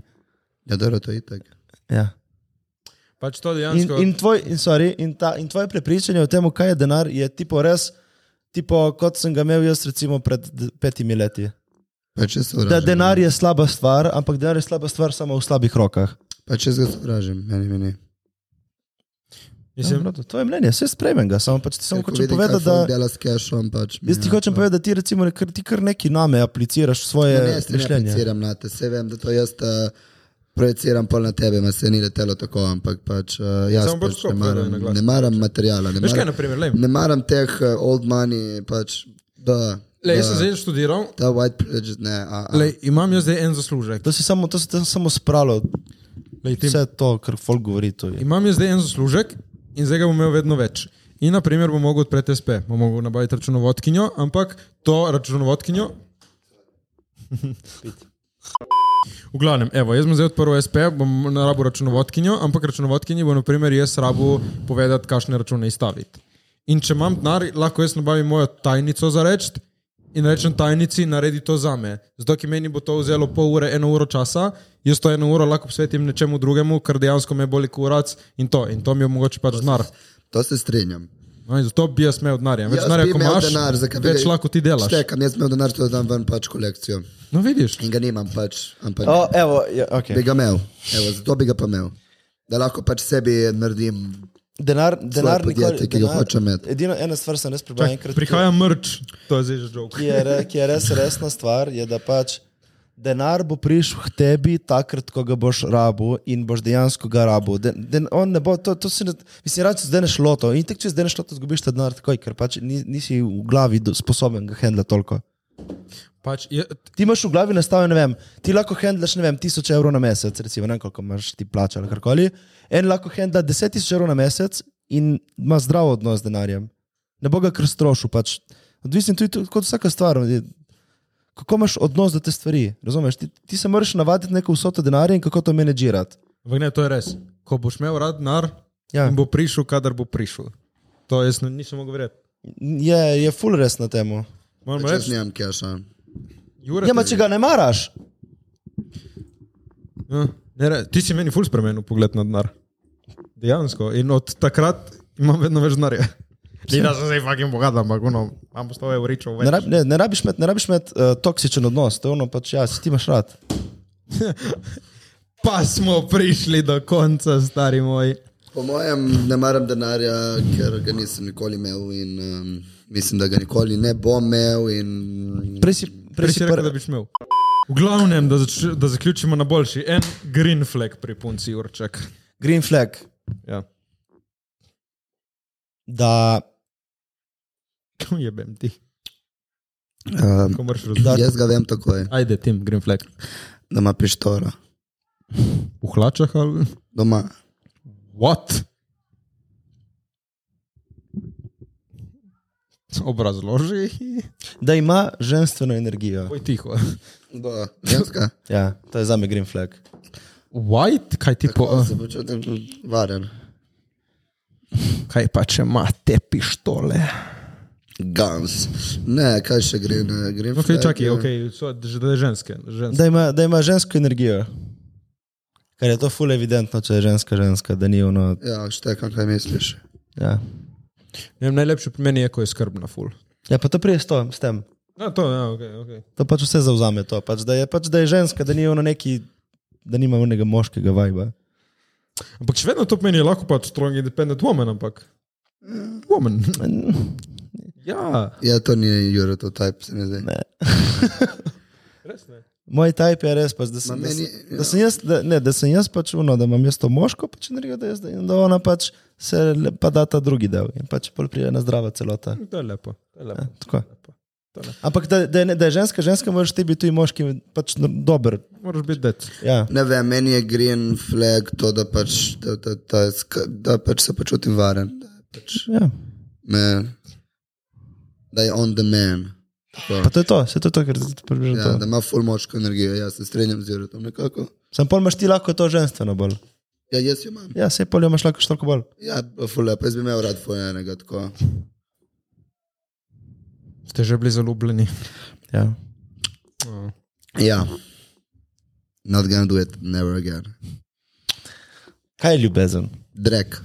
S1: Ja, dobro, to je itak.
S3: Ja.
S2: Pač to
S3: In,
S2: dejansko.
S3: in, tvoj, in, sorry, in, ta, in tvoje prepričanje o tem, kaj je denar, je tipo res, tipo, kot sem ga imel jaz recimo pred d- petimi leti.
S1: Pa če se
S3: Da
S1: vražim.
S3: denar je slaba stvar, ampak denar je slaba stvar samo v slabih rokah.
S1: Pa če se vražim, meni meni.
S2: Mislim,
S3: Ja, v redu, to je mnenje, vse sprejmem ga, samo pač ti samo
S1: Ker ko
S3: hočem
S1: vidim,
S3: povedati,
S1: kaj
S3: da.
S1: folk Dela s cashom, pač. mi
S3: Jaz ti
S1: je
S3: hočem
S1: to-
S3: povedati, da ti, recimo, ne- kar, ti kar neki name apliciraš v svoje
S1: Ne, ne, se ne
S3: mišljenje.
S1: projiciram na te, se vem, da to jaz uh, projiciram pol na tebe, ma se ni letelo tako, ampak pač uh, jaz
S2: Samo pač
S1: pač
S2: tako
S1: ne
S2: povedal na
S1: maram,
S2: glas.
S1: ne maram materijala, ne
S2: veš kaj,
S1: maram,
S2: na primer, le.
S1: ne maram teh uh, old money, pač, da,
S2: Le, jaz sem zdaj študiral,
S1: ta white privilege, ne, a, a.
S2: le, imam jaz zdaj en zaslužek.
S3: To si samo, to si to samo spralo,
S2: Lej, Tim,
S3: vse to, kar folk govori. to je.
S2: imam jaz zdaj en zaslužek in zdaj ga bom imel vedno več. In, na primer, bom mogel odpreti SP, bom mogel nabaviti računovodkinjo, ampak to računovodkinjo. V glavnem, evo, jaz sem zdaj odprl SP, bom na rabu računovodkinjo, ampak računovodkinji bo, na primer, jaz rabu povedati, kakšne račune izstaviti. In če imam denar, lahko jaz nabavim mojo tajnico za reči in rečem tajnici, naredi to za me. Zato, ki meni bo to vzelo pol ure, eno uro časa, jaz to eno uro lahko posvetim nečemu drugemu, kar dejansko me boli kurac in to. In to mi omogoča pač denar.
S1: To se strinjam.
S2: No, in zato bi jaz imel denar. ja. Več
S1: Jaz
S2: denarja,
S1: bi
S2: ko
S1: imel
S2: imaš,
S1: denar, za kaj bi
S2: več
S1: ga-
S2: lahko ti delaš.
S1: Štekam, jaz sem imel denar, to da dam ven pač kolekcijo.
S2: No, vidiš.
S1: In ga nimam pač, ampak
S3: O, evo, ja,
S1: bi
S3: okay.
S1: ga imel, Evo, zato bi ga pa imel. Da lahko pač sebi naredim.
S3: Denar, denar
S1: podjetje, ki
S3: nikoli-
S1: ga
S3: denar-
S1: hočem imeti.
S3: Edino ena stvar sem res prebral
S2: Čak,
S3: enkrat.
S2: prihaja mrč, to je zdaj že žog.
S3: ki je, re, ki je res resna stvar, je, da pač denar bo prišel k tebi takrat, ko ga boš rabu in boš dejansko ga rabu. De, de, on ne bo, to, to si ne, mislim, rad si zdaj neš loto in tek, če zdaj neš loto, zgubiš ta denar takoj, ker pač ni, nisi v glavi do, sposoben ga handla toliko.
S2: Pač, je,
S3: Ti imaš v glavi nastavljeno, ne vem, ti lahko handlaš, ne vem, 1000 evrov na mesec, recimo, ne vem, koliko imaš ti plača ali karkoli. En lahko handla 10 tisoč evrov na mesec in ima zdrav odnos z denarjem. Ne bo ga kar strošil, pač. Odvisno je tudi tudi kot vsaka stvar. je- Kako imaš odnos do te stvari, razumeš? Ti, ti se moraš navaditi neko vsoto denarja in kako to menedžirati.
S2: ampak ne, to je res. Ko boš imel rad denar,
S3: Ja.
S2: in bo prišel, kadar bo prišel. To jaz ne- nisem mogel verjeti.
S3: Je, je full res na temo.
S2: Moram
S1: Pač jaz
S2: reči,
S1: nimam keša.
S2: Jure,
S3: Ja, ma če ga ne maraš,
S2: Ja, ne, re, ti si meni ful spremenil pogled na denar. Dejansko. In od takrat imam vedno več denarja. Ni da sem zdaj fucking bogat, ampak ono, imam 100 evrov
S3: ne,
S2: več.
S3: rab, ne, ne rabiš imeti uh, toksičen odnos, to je ono pač, ja, si ti imaš rad.
S2: Pa smo prišli do konca, stari moj.
S1: Po mojem, ne maram denarja, ker ga nisem nikoli imel in um, mislim, da ga nikoli ne bom imel. In...
S3: Prej si,
S2: Prej si rekel,
S3: prvi-
S2: da bi imel. V glavnem, da, zač, da zaključimo na boljši. En green flag pri punci, Jurček.
S3: Green flag,
S2: Ja.
S3: da,
S2: Jebem ti,
S1: Um,
S2: ko moraš razumeti.
S1: jaz ga vem takoj,
S2: Ajde, tim, green flag.
S1: da ima pištora
S2: V hlačah ali?
S1: doma.
S2: What? Obrazloži.
S3: da ima ženstveno energijo.
S2: Poj tiho.
S1: Da, ženska.
S3: Ja, to je za me green flag.
S2: White, kaj ti po...
S1: Ko se počutim varen.
S2: Kaj pa če ima te pištole?
S1: Guns. Ne, kaj še gre na Green
S2: Ok,
S1: Flag
S2: čakaj,
S1: je-
S2: ok, so da je ženske. ženske.
S3: Da ima, da ima žensko energijo. Ker je to ful evidentno, če je ženska ženska, da ni ono.
S1: Ja, štekam, kaj misliš.
S3: Ja,
S2: Ne vem, najlepše pri meni je, ko je skrbna ful.
S3: ja pa to prije s, to, s tem.
S2: Ja, to, ja, ok, ok.
S3: To pač vse zauzame, to, pač, da, je, pač, da je ženska, da ni ono neki, da nima onega moškega vibra.
S2: Ampak še vedno to meni je lahko pač strong independent woman, ampak. Woman. Ja,
S1: Ja, to ni Eurotype, se mi zdi.
S3: Ne.
S2: res ne.
S3: Moj type je res, pač, da, sem,
S1: Ma
S3: da,
S1: meni- ja.
S3: sem, da, sem jaz, da, ne, da sem jaz pač uno, da imam jaz to moško pač energijo, da, jaz, da, in da ona pač se le- pa da ta drugi del in pač pol pride na zdrava celota.
S2: To je lepo. To je lepo.
S3: Ja, tako.
S2: To ne.
S3: Ampak da, da, je ne- da je ženska, ženska moraš ti biti tudi moški, pač no, dober.
S2: Moraš biti dec.
S3: Ja.
S1: Ne vem, meni je Green Flag to, da pač, da, da, da, sk- da pač se počutim varen. Da, pač,
S3: Ja.
S1: me, da je on the man. Tako.
S3: Pa to je to, vse to je to, kar ti približuje.
S1: Ja,
S3: Ja,
S1: da ima full močko energijo, jaz se strinjam z Eurotom nekako.
S3: Sam pol imaš ti lahko to ženstveno bolj.
S1: Ja, jaz jo imam.
S3: Ja, se pol jo imaš lahko še toliko bolj.
S1: Ja, full lepo, jaz bi imel rad full enega tako.
S2: Ste že bili zaljubljeni.
S3: Ja.
S1: Ja. Not gonna do it, never again.
S3: Kaj je ljubezen?
S1: Drek.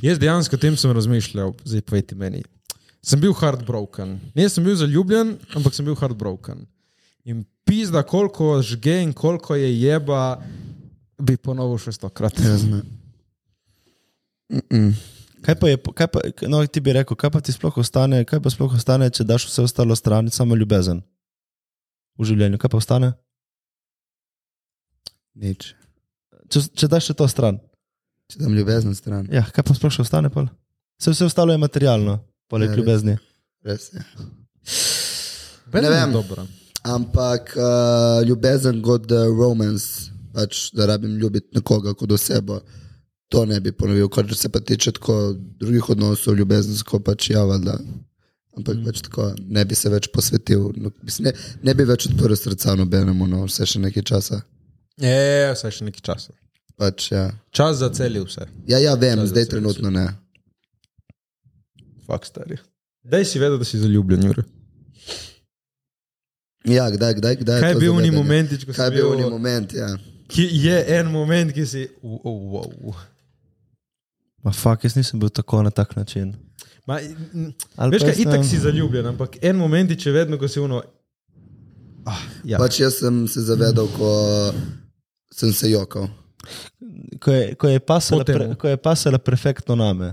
S2: Jaz dejansko o tem sem razmišljal, zdaj povejte meni. Sem bil heartbroken. Ne, sem bil zaljubljen, ampak sem bil heartbroken. In pizda, koliko žge in koliko je jeba, bi ponovil še stokrat.
S3: Kaj pa je, kaj pa, no, ti bi rekel, kaj pa ti sploh ostane, kaj pa sploh ostane, če daš vse ostalo stran, samo ljubezen v življenju, kaj pa ostane?
S1: Nič.
S3: Če, če daš še to stran,
S1: Če dam ljubezen stran.
S3: ja, kaj pa sploh še ostane? Pol? Se vse ostalo je materialno,
S1: Ja,
S3: poleg ja,
S1: res.
S3: ljubezni.
S1: Res je.
S2: Vedno je
S1: vem.
S2: Dobro.
S1: Ampak uh, ljubezen kot uh, romance, pač, da rabim ljubiti nekoga kot osebo, to ne bi ponovil. Kar se pa tiče tako drugih odnosov, ljubezensko pač java. Da. Ampak mm. pač tako, ne bi se več posvetil, no, mislim, ne, ne bi več odprl srca nobenemu, no, vse še nekaj časa.
S2: Je, vse še nekaj časa.
S1: Pač, ja.
S2: Čas za celje vse.
S1: Ja, ja, vem,
S2: Čas, da
S1: zdaj
S2: se
S1: trenutno ne.
S2: Fak stari. Daj si vedel, da si zaljubljen. Jure.
S1: Ja, kdaj, kdaj, kdaj.
S2: Kaj je
S1: to
S2: bil oni
S1: zavedanje?
S2: moment, ko si
S1: Kaj je bil oni
S2: bil?
S1: moment, ja.
S2: Ki je en moment, ki si. Wow, wow.
S3: Ma fuk, jaz nisem bil tako na tak način.
S2: Ma, n-
S3: Ali
S2: veš,
S3: pa
S2: kaj
S3: jaz ne
S2: itak
S3: vem.
S2: si zaljubljen, ampak en moment je, če vedno, ko si uno. Ah, ja.
S1: Pač jaz sem se zavedal, ko sem se jokal.
S3: Ko je, ko je, pasala,
S2: Po temu.
S3: pre, ko je pasala perfektno name.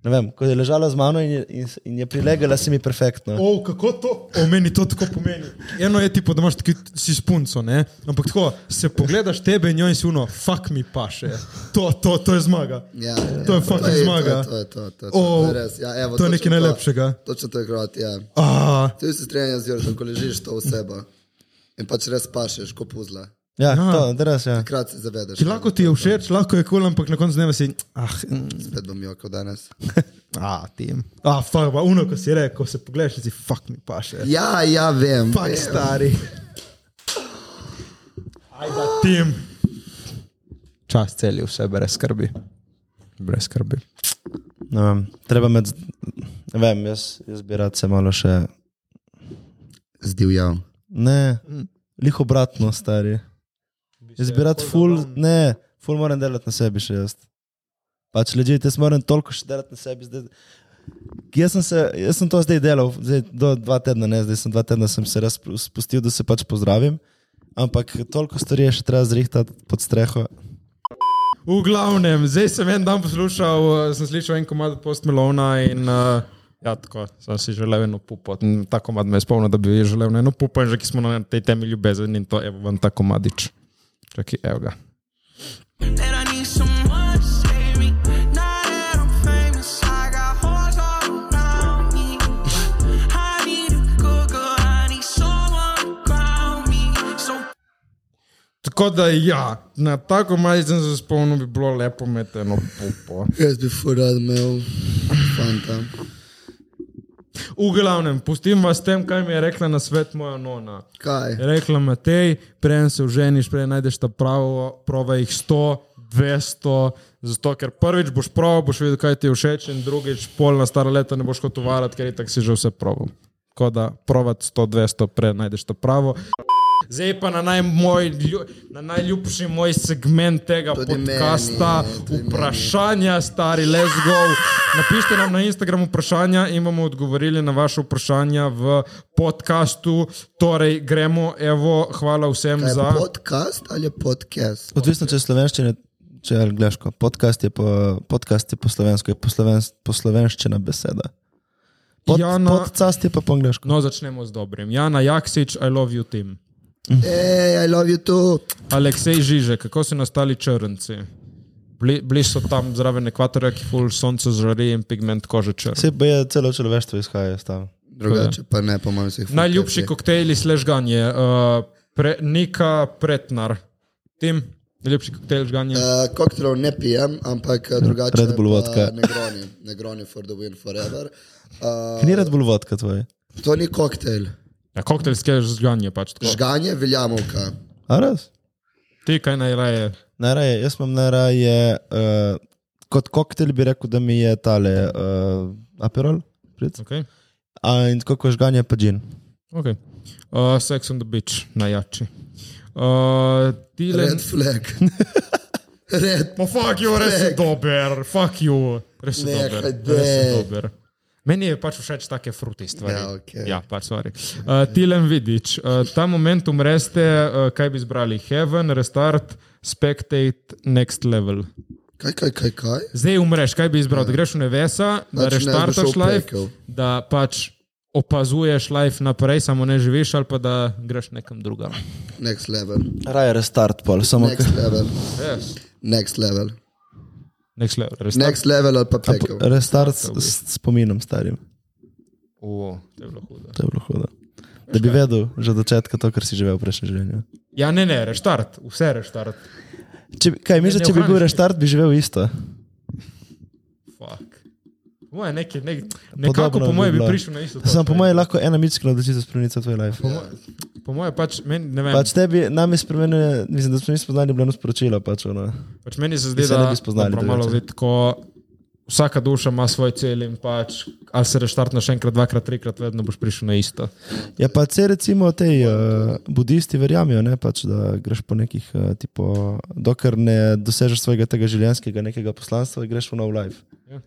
S3: Ne vem, ko je ležala z mano in je, in, s- in je prilegala, si mi perfektno.
S2: O, kako to? O, meni to tako pomeni. Eno je ti, da imaš taki, si spunco, ne? ampak tako se pogledaš tebe in jo in si uno, fuck mi paše. To, to, to je zmaga.
S1: Ja,
S2: To je
S1: ja,
S2: fucking
S1: to je-
S2: zmaga.
S1: To je to, to, to, to,
S2: O,
S1: to je res. Ja, evo,
S2: to je
S1: točno
S2: nekaj najlepšega.
S1: Točno to je grot, ja.
S2: Ah,
S1: Ti si strenjan z Jorkom, ko ležiš to osebo in pač res pašeš, ko puzla.
S3: Ja,
S2: Ja.
S3: to, da res, ja.
S1: Krat se zavedaš.
S2: ki lahko ti je všeč, lahko je kul, cool, ampak na koncu dneva si. Ah, mm,
S1: Spet bom jokal danes.
S2: ah tim. Ah, fuck, pa uno, ko si rekel, se pogledaš in si fuck mi paše.
S1: Ja, ja, vem.
S2: Fuck stari. Ajde, tim. Čas celi vse brez skrbi. Brez skrbi.
S3: Ne vem, treba med, ne vem, jaz, jaz bi rad se malo še.
S1: Zdivjal.
S3: Ne, liho obratno, stari. Jaz bi rad ful, ne, ful moram delati na sebi še jaz. Pač leži, jaz moram toliko še delati na sebi. Zdaj, jaz, sem se, jaz sem to zdaj delal, zdaj, do dva tedna, ne, zdaj sem dva tedna sem se res spu- spustil, da se pač pozdravim. Ampak toliko stvari je še treba zrihtati pod streho.
S2: V glavnem, zdaj sem en dan poslušal, eh, sem slišal en komad post Melona in uh, ja, tako sem si želel eno pupo. In Ta komad me je spomnil, da bi želel na eno pupo in že ki smo na tej temi ljubezen in to je vam ta komadič. Čakaj, evo ga.
S6: that I need someone to save me. Now that I'm famous, I got hoes all around me. I need a good girl, I need someone to ground me. So
S2: Tako da ja, na ta komadič sem se spomnil, bi bilo lepo imeti eno pupo.
S1: Jaz bi furad imel. Fanta.
S2: V glavnem, pustim vas s tem, kaj mi je rekla na svet moja nona.
S1: Kaj?
S2: Je Rekla Matej, preden se uženiš, preden najdeš ta pravo, prova jih sto, 200, zato ker prvič boš proval, boš videl, kaj ti je všeč, in drugič polna stara leta ne boš kot uvarati, ker itak si že vse proval. Tako da provat 100, 200, prej najdeš to pravo. Zdaj pa na, naj moj, lju- na najljubši moj segment tega
S1: Tudi
S2: podcasta,
S1: meni, tudi meni.
S2: vprašanja, stari, let's go. Napišite nam na Instagramu vprašanja in bomo odgovorili na vaše vprašanja v podkastu. Torej, gremo, evo, hvala vsem
S1: Kaj je
S2: za.
S1: podcast ali je podcast?
S3: Odvisno, če je slovenščina, če je angliško. Podcast je po, podcast je po slovensko, je po, sloven, po slovenščina beseda. Pod,
S2: Jana-
S3: Podcast je pa po angliško.
S2: No, začnemo z dobrim. Jana Jaksič, I love you, Tim.
S1: Ej, I love you too.
S2: Aleksej Žiže, kako so nastali črnci? Bili, bili so tam zraven ekvatorja, ki ful sonce žari in pigment kože črn.
S3: Vse je celo človeštvo izhaja iz tam.
S1: Drugače pa ne, po mojem, se jih
S2: Najljubši koktejli sležganje, uh, pre, Nika Pretnar. Tim, najljubši koktejl žganje.
S1: Uh, koktejlov ne pijem, ampak eh, drugače.
S3: Red Bull
S1: pa
S3: vodka.
S1: Negroni, negroni for the win forever. Uh,
S3: Ni red bolj vodka tvoj.
S1: to ni koktejl.
S2: Ja, koktejlske žganje pač tako.
S1: Žganje veljamovka.
S3: A res?
S2: Ti kaj najraje?
S3: Najraje, jaz imam najraje, uh, kot koktejl bi rekel, da mi je tale uh, aperol, pric.
S2: Okay.
S3: A in tako kot žganje pa džin.
S2: Okay. Uh, sex on the beach, najjači. Uh, Dylan...
S1: Red flag.
S3: Ja,
S1: Red.
S2: Ma fuck you, res je dober, fuck you, res je
S1: Ne,
S2: dober.
S1: hajde.
S2: Res je dober. Meni je pač všeč take fruti stvari.
S1: Ja, okej.
S2: ja pač stvari. Uh, Tilen vidiš, uh, ta moment umreste, uh, kaj bi izbrali? Heaven, restart, spectate, next level.
S1: Kaj, kaj, kaj, kaj?
S2: Zdaj umreš, kaj bi izbral? Da greš v nevesa,
S1: Ja. Pač ne,
S2: da pač
S1: bi
S2: reštartaš
S1: šel v
S2: life,
S1: pekel.
S2: da pač opazuješ life naprej, samo ne živiš, ali pa da greš nekam drugam.
S1: Next level.
S3: Raje restart pol, samo
S1: Next level.
S2: Yes.
S1: Next level.
S2: Next level, restart.
S1: Next level ali pa pekel.
S3: Restart s, s spominom starim.
S2: O, to je bilo hudo.
S3: To je bilo hudo. Da bi vedel že od začetka to, kar si živel v prejšnjem življenju.
S2: Ja, ne, ne, reštart, vse reštart.
S3: Če, bi- kaj misliš,
S2: ne
S3: če bi bil
S2: ohraniš.
S3: reštart, bi živel isto?
S2: Fuck. Po moje, nek, nek, nekako
S3: Podobno
S2: po moje bi,
S3: bilo.
S2: prišel na isto.
S3: Samo
S2: točko.
S3: po mojem lahko ena mitska odločitev spremeni tvoj life.
S2: po moje pač, meni, ne vem,
S3: Pač tebi, nam je spremenjeno, mislim, da smo mi spoznali, bilo je sporočilo. Pač, ono.
S2: pač meni se zdi,
S3: se ne
S2: da
S3: bi spoznali
S2: dobro, malo
S3: drugače.
S2: zdaj tako. Vsaka duša ima svoj cel in pač, ali se reštartneš enkrat, dvakrat, trikrat, vedno boš prišel na isto.
S3: Ja, pa se recimo te uh, budisti verjamijo, ne, pač, da greš po nekih, uh, tipo, dokler ne dosežeš svojega tega življenjskega nekega poslanstva, greš v nov life.
S2: Ja.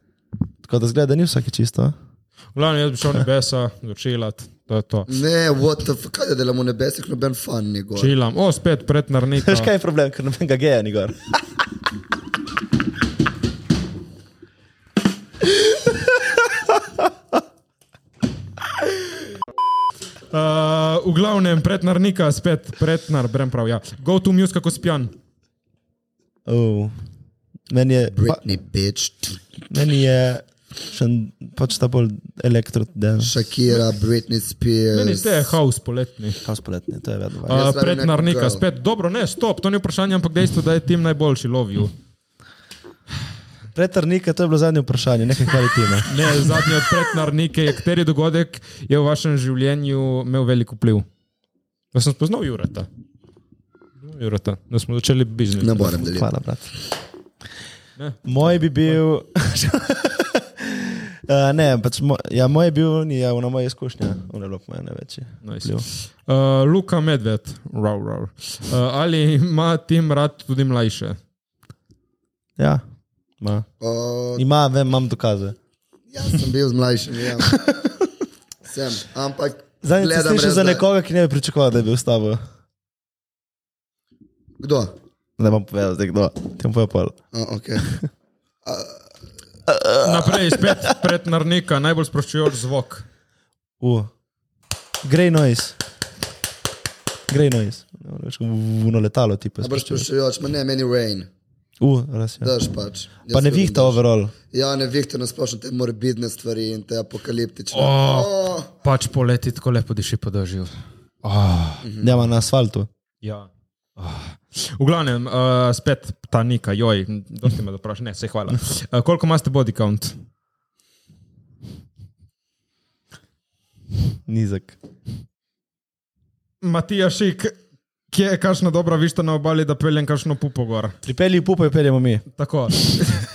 S3: Tako da zgleda, da ni vsake čisto. a?
S2: V glavnem, jaz bi šel v nebesa, začilat, to je to.
S1: Ne, what the fuck, kaj da delamo v nebesih, noben fan ni gor.
S2: Čilam, o, spet pred narnikom.
S3: Veš, kaj je problem, ker nobenega geja ni gor.
S2: Uh, v glavnem, pred narnika, spet pred nar, brem prav, ja. Go to music, kako spjan.
S3: Oh. Meni je, pa,
S1: Britney, bitch.
S3: meni je še en- pač ta bolj elektrodance.
S1: Shakira, Britney
S2: Meni
S1: Spears.
S2: se je haos poletni.
S3: Kaj spoletni, to je vedno. važno.
S1: Jaz
S2: Uh,
S1: radim
S2: pred
S1: neko
S2: narnika,
S1: girl.
S2: spet dobro, ne, stop, to ni vprašanje, ampak dejstvo, da je tim najboljši lovil.
S3: Pretrnika, to je bilo zadnje vprašanje, nekaj kvalitete.
S2: Ne, zadnji od pred narnike je, kateri dogodek je v vašem življenju imel velik vpliv. Da sem spoznal Jurata. Jurata, da smo začeli biznis.
S1: Ne morem deliti.
S3: Hvala, brat. Moj bi bil. Uh, ne, pač mo, ja, moj je bil, ni ja, na moje izkušnje, unelop moja največji.
S2: Nice. Uh, No, Luka Medved, raw, raw. Uh, ali ima tim rad tudi mlajše?
S3: Ja, ima.
S1: O,
S3: Ima, vem, imam dokaze.
S1: Jaz sem bil z mlajšim, ja. Sem, ampak.
S3: Zadnjič sem
S1: gledam
S3: slišal
S1: res,
S3: za
S1: da-
S3: nekoga, ki ne bi pričakoval, da je bil s tabo.
S1: Kdo?
S3: Ne bom povedal, zdaj kdo. Tem pa je pol.
S1: A, okay.
S2: Naprej, spet pred narnika, najbolj sproščujoč zvok.
S3: U. Grey noise. Grey noise. No, Ne morem več, Vuno letalo, ti pa.
S1: A boš prišljajoč, ma ne, meni rain.
S3: U, res je.
S1: Daš pač. Jaz
S3: Pa ne
S1: ljubim
S3: vihta
S1: dež.
S3: overall.
S1: Ja, ne vihta nasplošno te morbidne stvari in te apokaliptične.
S2: Oh.
S1: Oh.
S2: Pač poleti tako lepo diši po dežju.
S3: Ja, ima na asfaltu.
S2: Ja. V glavnem, uh, spet ta nika, joj, dosti me dopraš, ne, se hvala. Uh, koliko imate body count?
S3: Nizek.
S2: Matija Šik, kje je kakšna dobra višta na obali, da peljem kakšno pupo gor.
S3: Pripelji pupo in peljemo mi.
S2: Tako.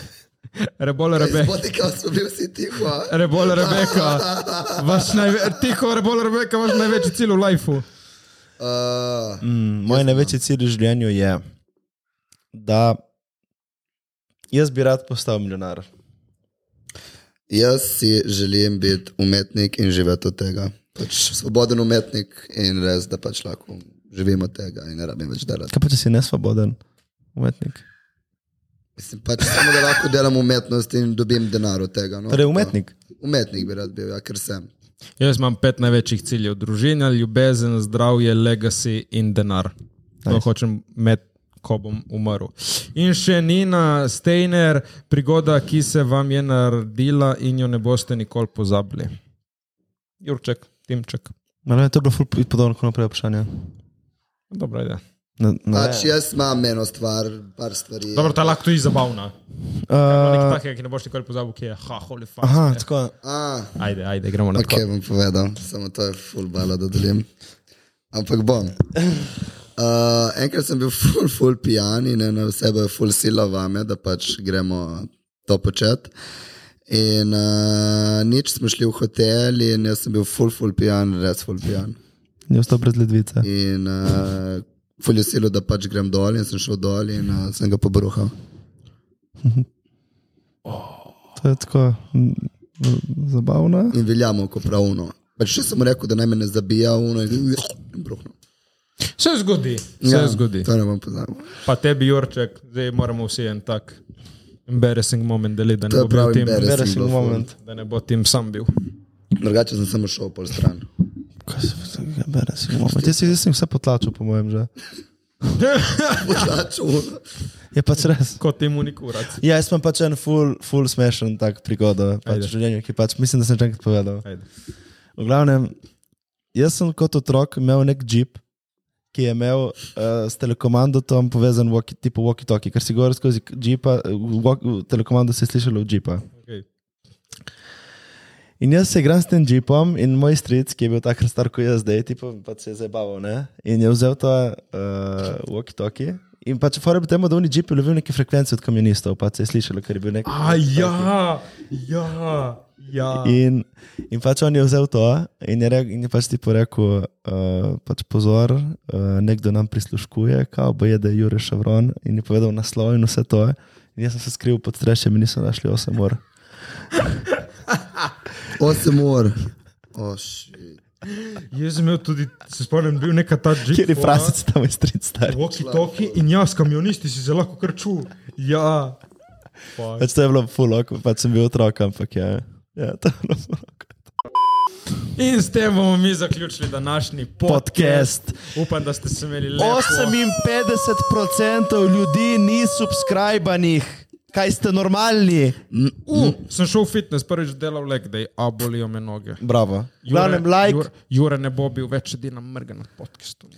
S2: Rebol
S1: Iz
S2: Rebeka.
S1: Spotika smo bili vsi tiho. a?
S2: Rebol Rebeka. Vaš najve... Tiho, Rebol Rebeka, vaš največji cilj v lifeu.
S1: Uh,
S3: Mm, moj največji cilj v življenju je, da jaz bi rad postal milijonar.
S1: jaz si želim biti umetnik in živeti od tega. Pač svoboden umetnik in res, da pač lahko živim od tega in ne rabim več delati.
S3: Kaj pa če si nesvoboden umetnik?
S1: Mislim, pač samo da lahko delam umetnost in dobim denar od tega. No?
S3: Torej, umetnik.
S1: Umetnik bi rad bil, ja, ker sem.
S2: Jaz imam pet največjih ciljev: družina, ljubezen, zdravje, legacy in denar. To nice. hočem med, ko bom umrl. In še Nina Steiner, prigoda, ki se vam je naredila in jo ne boste nikoli pozabili. Jurček, Timček,
S3: Malo je to bilo ful podobno kot naprej vprašanje.
S2: dobra ideja.
S3: Na, na,
S1: Pač jaz imam eno stvar, par stvari.
S2: Dobro, ta lahko tudi zabavna.
S3: uh,
S2: Taka, ki ne boš nikoli pozabil, ki je, ha, holy fuck.
S3: aha, tako.
S1: A,
S2: Ajde, ajde, gremo na
S1: ok, bom povedal, samo to je full bala, da delim. Ampak bom. Uh, enkrat sem bil full, full pijan in ena oseba je full sila vame, da pač gremo to početi. In uh, nič smo šli v hotel in jaz sem bil full, full pijan, res full pijan.
S3: Je ostal brez ledvice.
S1: In uh, full je silo, da pač grem dol in sem šel dol in uh, sem ga pobruhal.
S3: To je tako mm, zabavno.
S1: In veljamo, ko pravno. Pač še sem mu rekel, da naj me ne zabija, uno in, in bruhno.
S2: Se zgodi, se ja. zgodi.
S1: To ne bom pozabil.
S2: Pa tebi, Jurček, zdaj moramo vsi en tak embarrassing moment deliti, da
S1: To
S2: ne
S1: je
S2: bo bil
S1: pravi
S2: tim.
S1: embarrassing
S3: Embarrassing
S1: bilo ful.
S3: moment.
S2: Da ne bo tim sam bil.
S1: Drugače sem samo šel pol stran.
S3: Kaj se pa tako embarrassing moment? Jaz si- jaz sem vse potlačil, po mojem, že.
S1: Potlačil uno.
S3: Je pač res.
S2: Kot tim unikurac.
S3: Ja, jaz sem pač en full, full smešen tak prigodo pač
S2: Ajde.
S3: v življenju, ki pač mislim, da sem že enkrat povedal.
S2: Ajde.
S3: V glavnem, jaz sem kot otrok imel nek jeep, ki je imel uh, s telekomando tam povezan walkie, tipo walkie-talkie, ker si govoril skozi jeepa, eh, walk, telekomando se je slišalo od jeepa.
S2: Okay.
S3: In jaz se igram s tem jeepom in moj stric, ki je bil takrat star kot jaz, zdaj tipo, pač se je zabaval. Ne? In je vzel ta uh, walkie-talkie. In pač fora bi temu, da oni jeepi lovil neke frekvence od kamionistov, pa se je slišalo, ker je bil nek.
S2: A ja, ja, ja.
S3: In, in pač on je vzel to in je, rekel, in je pač ti rekel, uh, pač pozor, uh, nekdo nam prisluškuje, kao boje, da je Jure Šavron in je povedal naslov in vse to. In jaz sem se skril pod strešjem in niso našli 8 ur.
S1: 8 ur. Oh, shit.
S2: Jaz sem imel tudi, se spomnim, bil neka ta džip.
S3: Kjer je frasic tam iz stric star.
S2: Walkie-talkie in jaz, kamionisti, si se lahko krču. Ja.
S3: Pač to je bilo fulok, pač sem bil otrok, ampak ja. ja to je bilo ful awkward.
S2: In s tem bomo mi zaključili današnji podcast.
S3: Podcast.
S2: Upam, da ste se imeli lepo.
S3: 58% ljudi ni subskrbibanih. Kaj ste normalni?
S2: Uh, sem šel v fitness, prvič delal leg day, a bolijo me noge.
S3: Bravo. V glavnem, like.
S2: Jure, Jure ne bo bil več edina mrga na podkastu.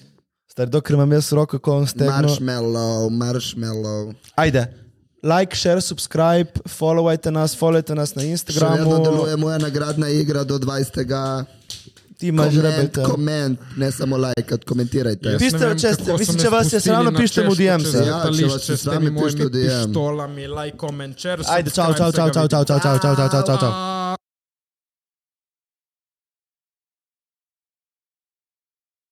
S3: Star, dokler imam jaz roko, ko on stegne.
S1: Marshmallow, marshmallow.
S3: Ajde. Like, share, subscribe, followajte nas, followajte nas na
S1: Še vedno
S3: Instagramu,
S1: deluje moja nagradna igra do 20.
S3: ti imaš
S1: Koment,
S3: rebete.
S1: koment, ne samo lajkat, komentirajte.
S2: Jaz
S3: Pišite,
S2: ne vem,
S3: če
S2: kako
S3: ste-
S2: so
S3: mislim,
S2: me
S3: če vas je
S2: spustili
S3: sram,
S2: na
S3: napište mu
S2: Češko
S3: DM
S2: čez
S3: se.
S1: Ja, če vas
S2: letališče
S1: je
S2: s
S1: sram,
S2: temi
S1: napišite
S2: mojimi
S1: v DM.
S2: pištolami, like, comment, share.
S3: Ajde, čau, čau, čau,
S2: subscribe,
S3: čau, čau, čau, čau, čau, čau, čau, čau.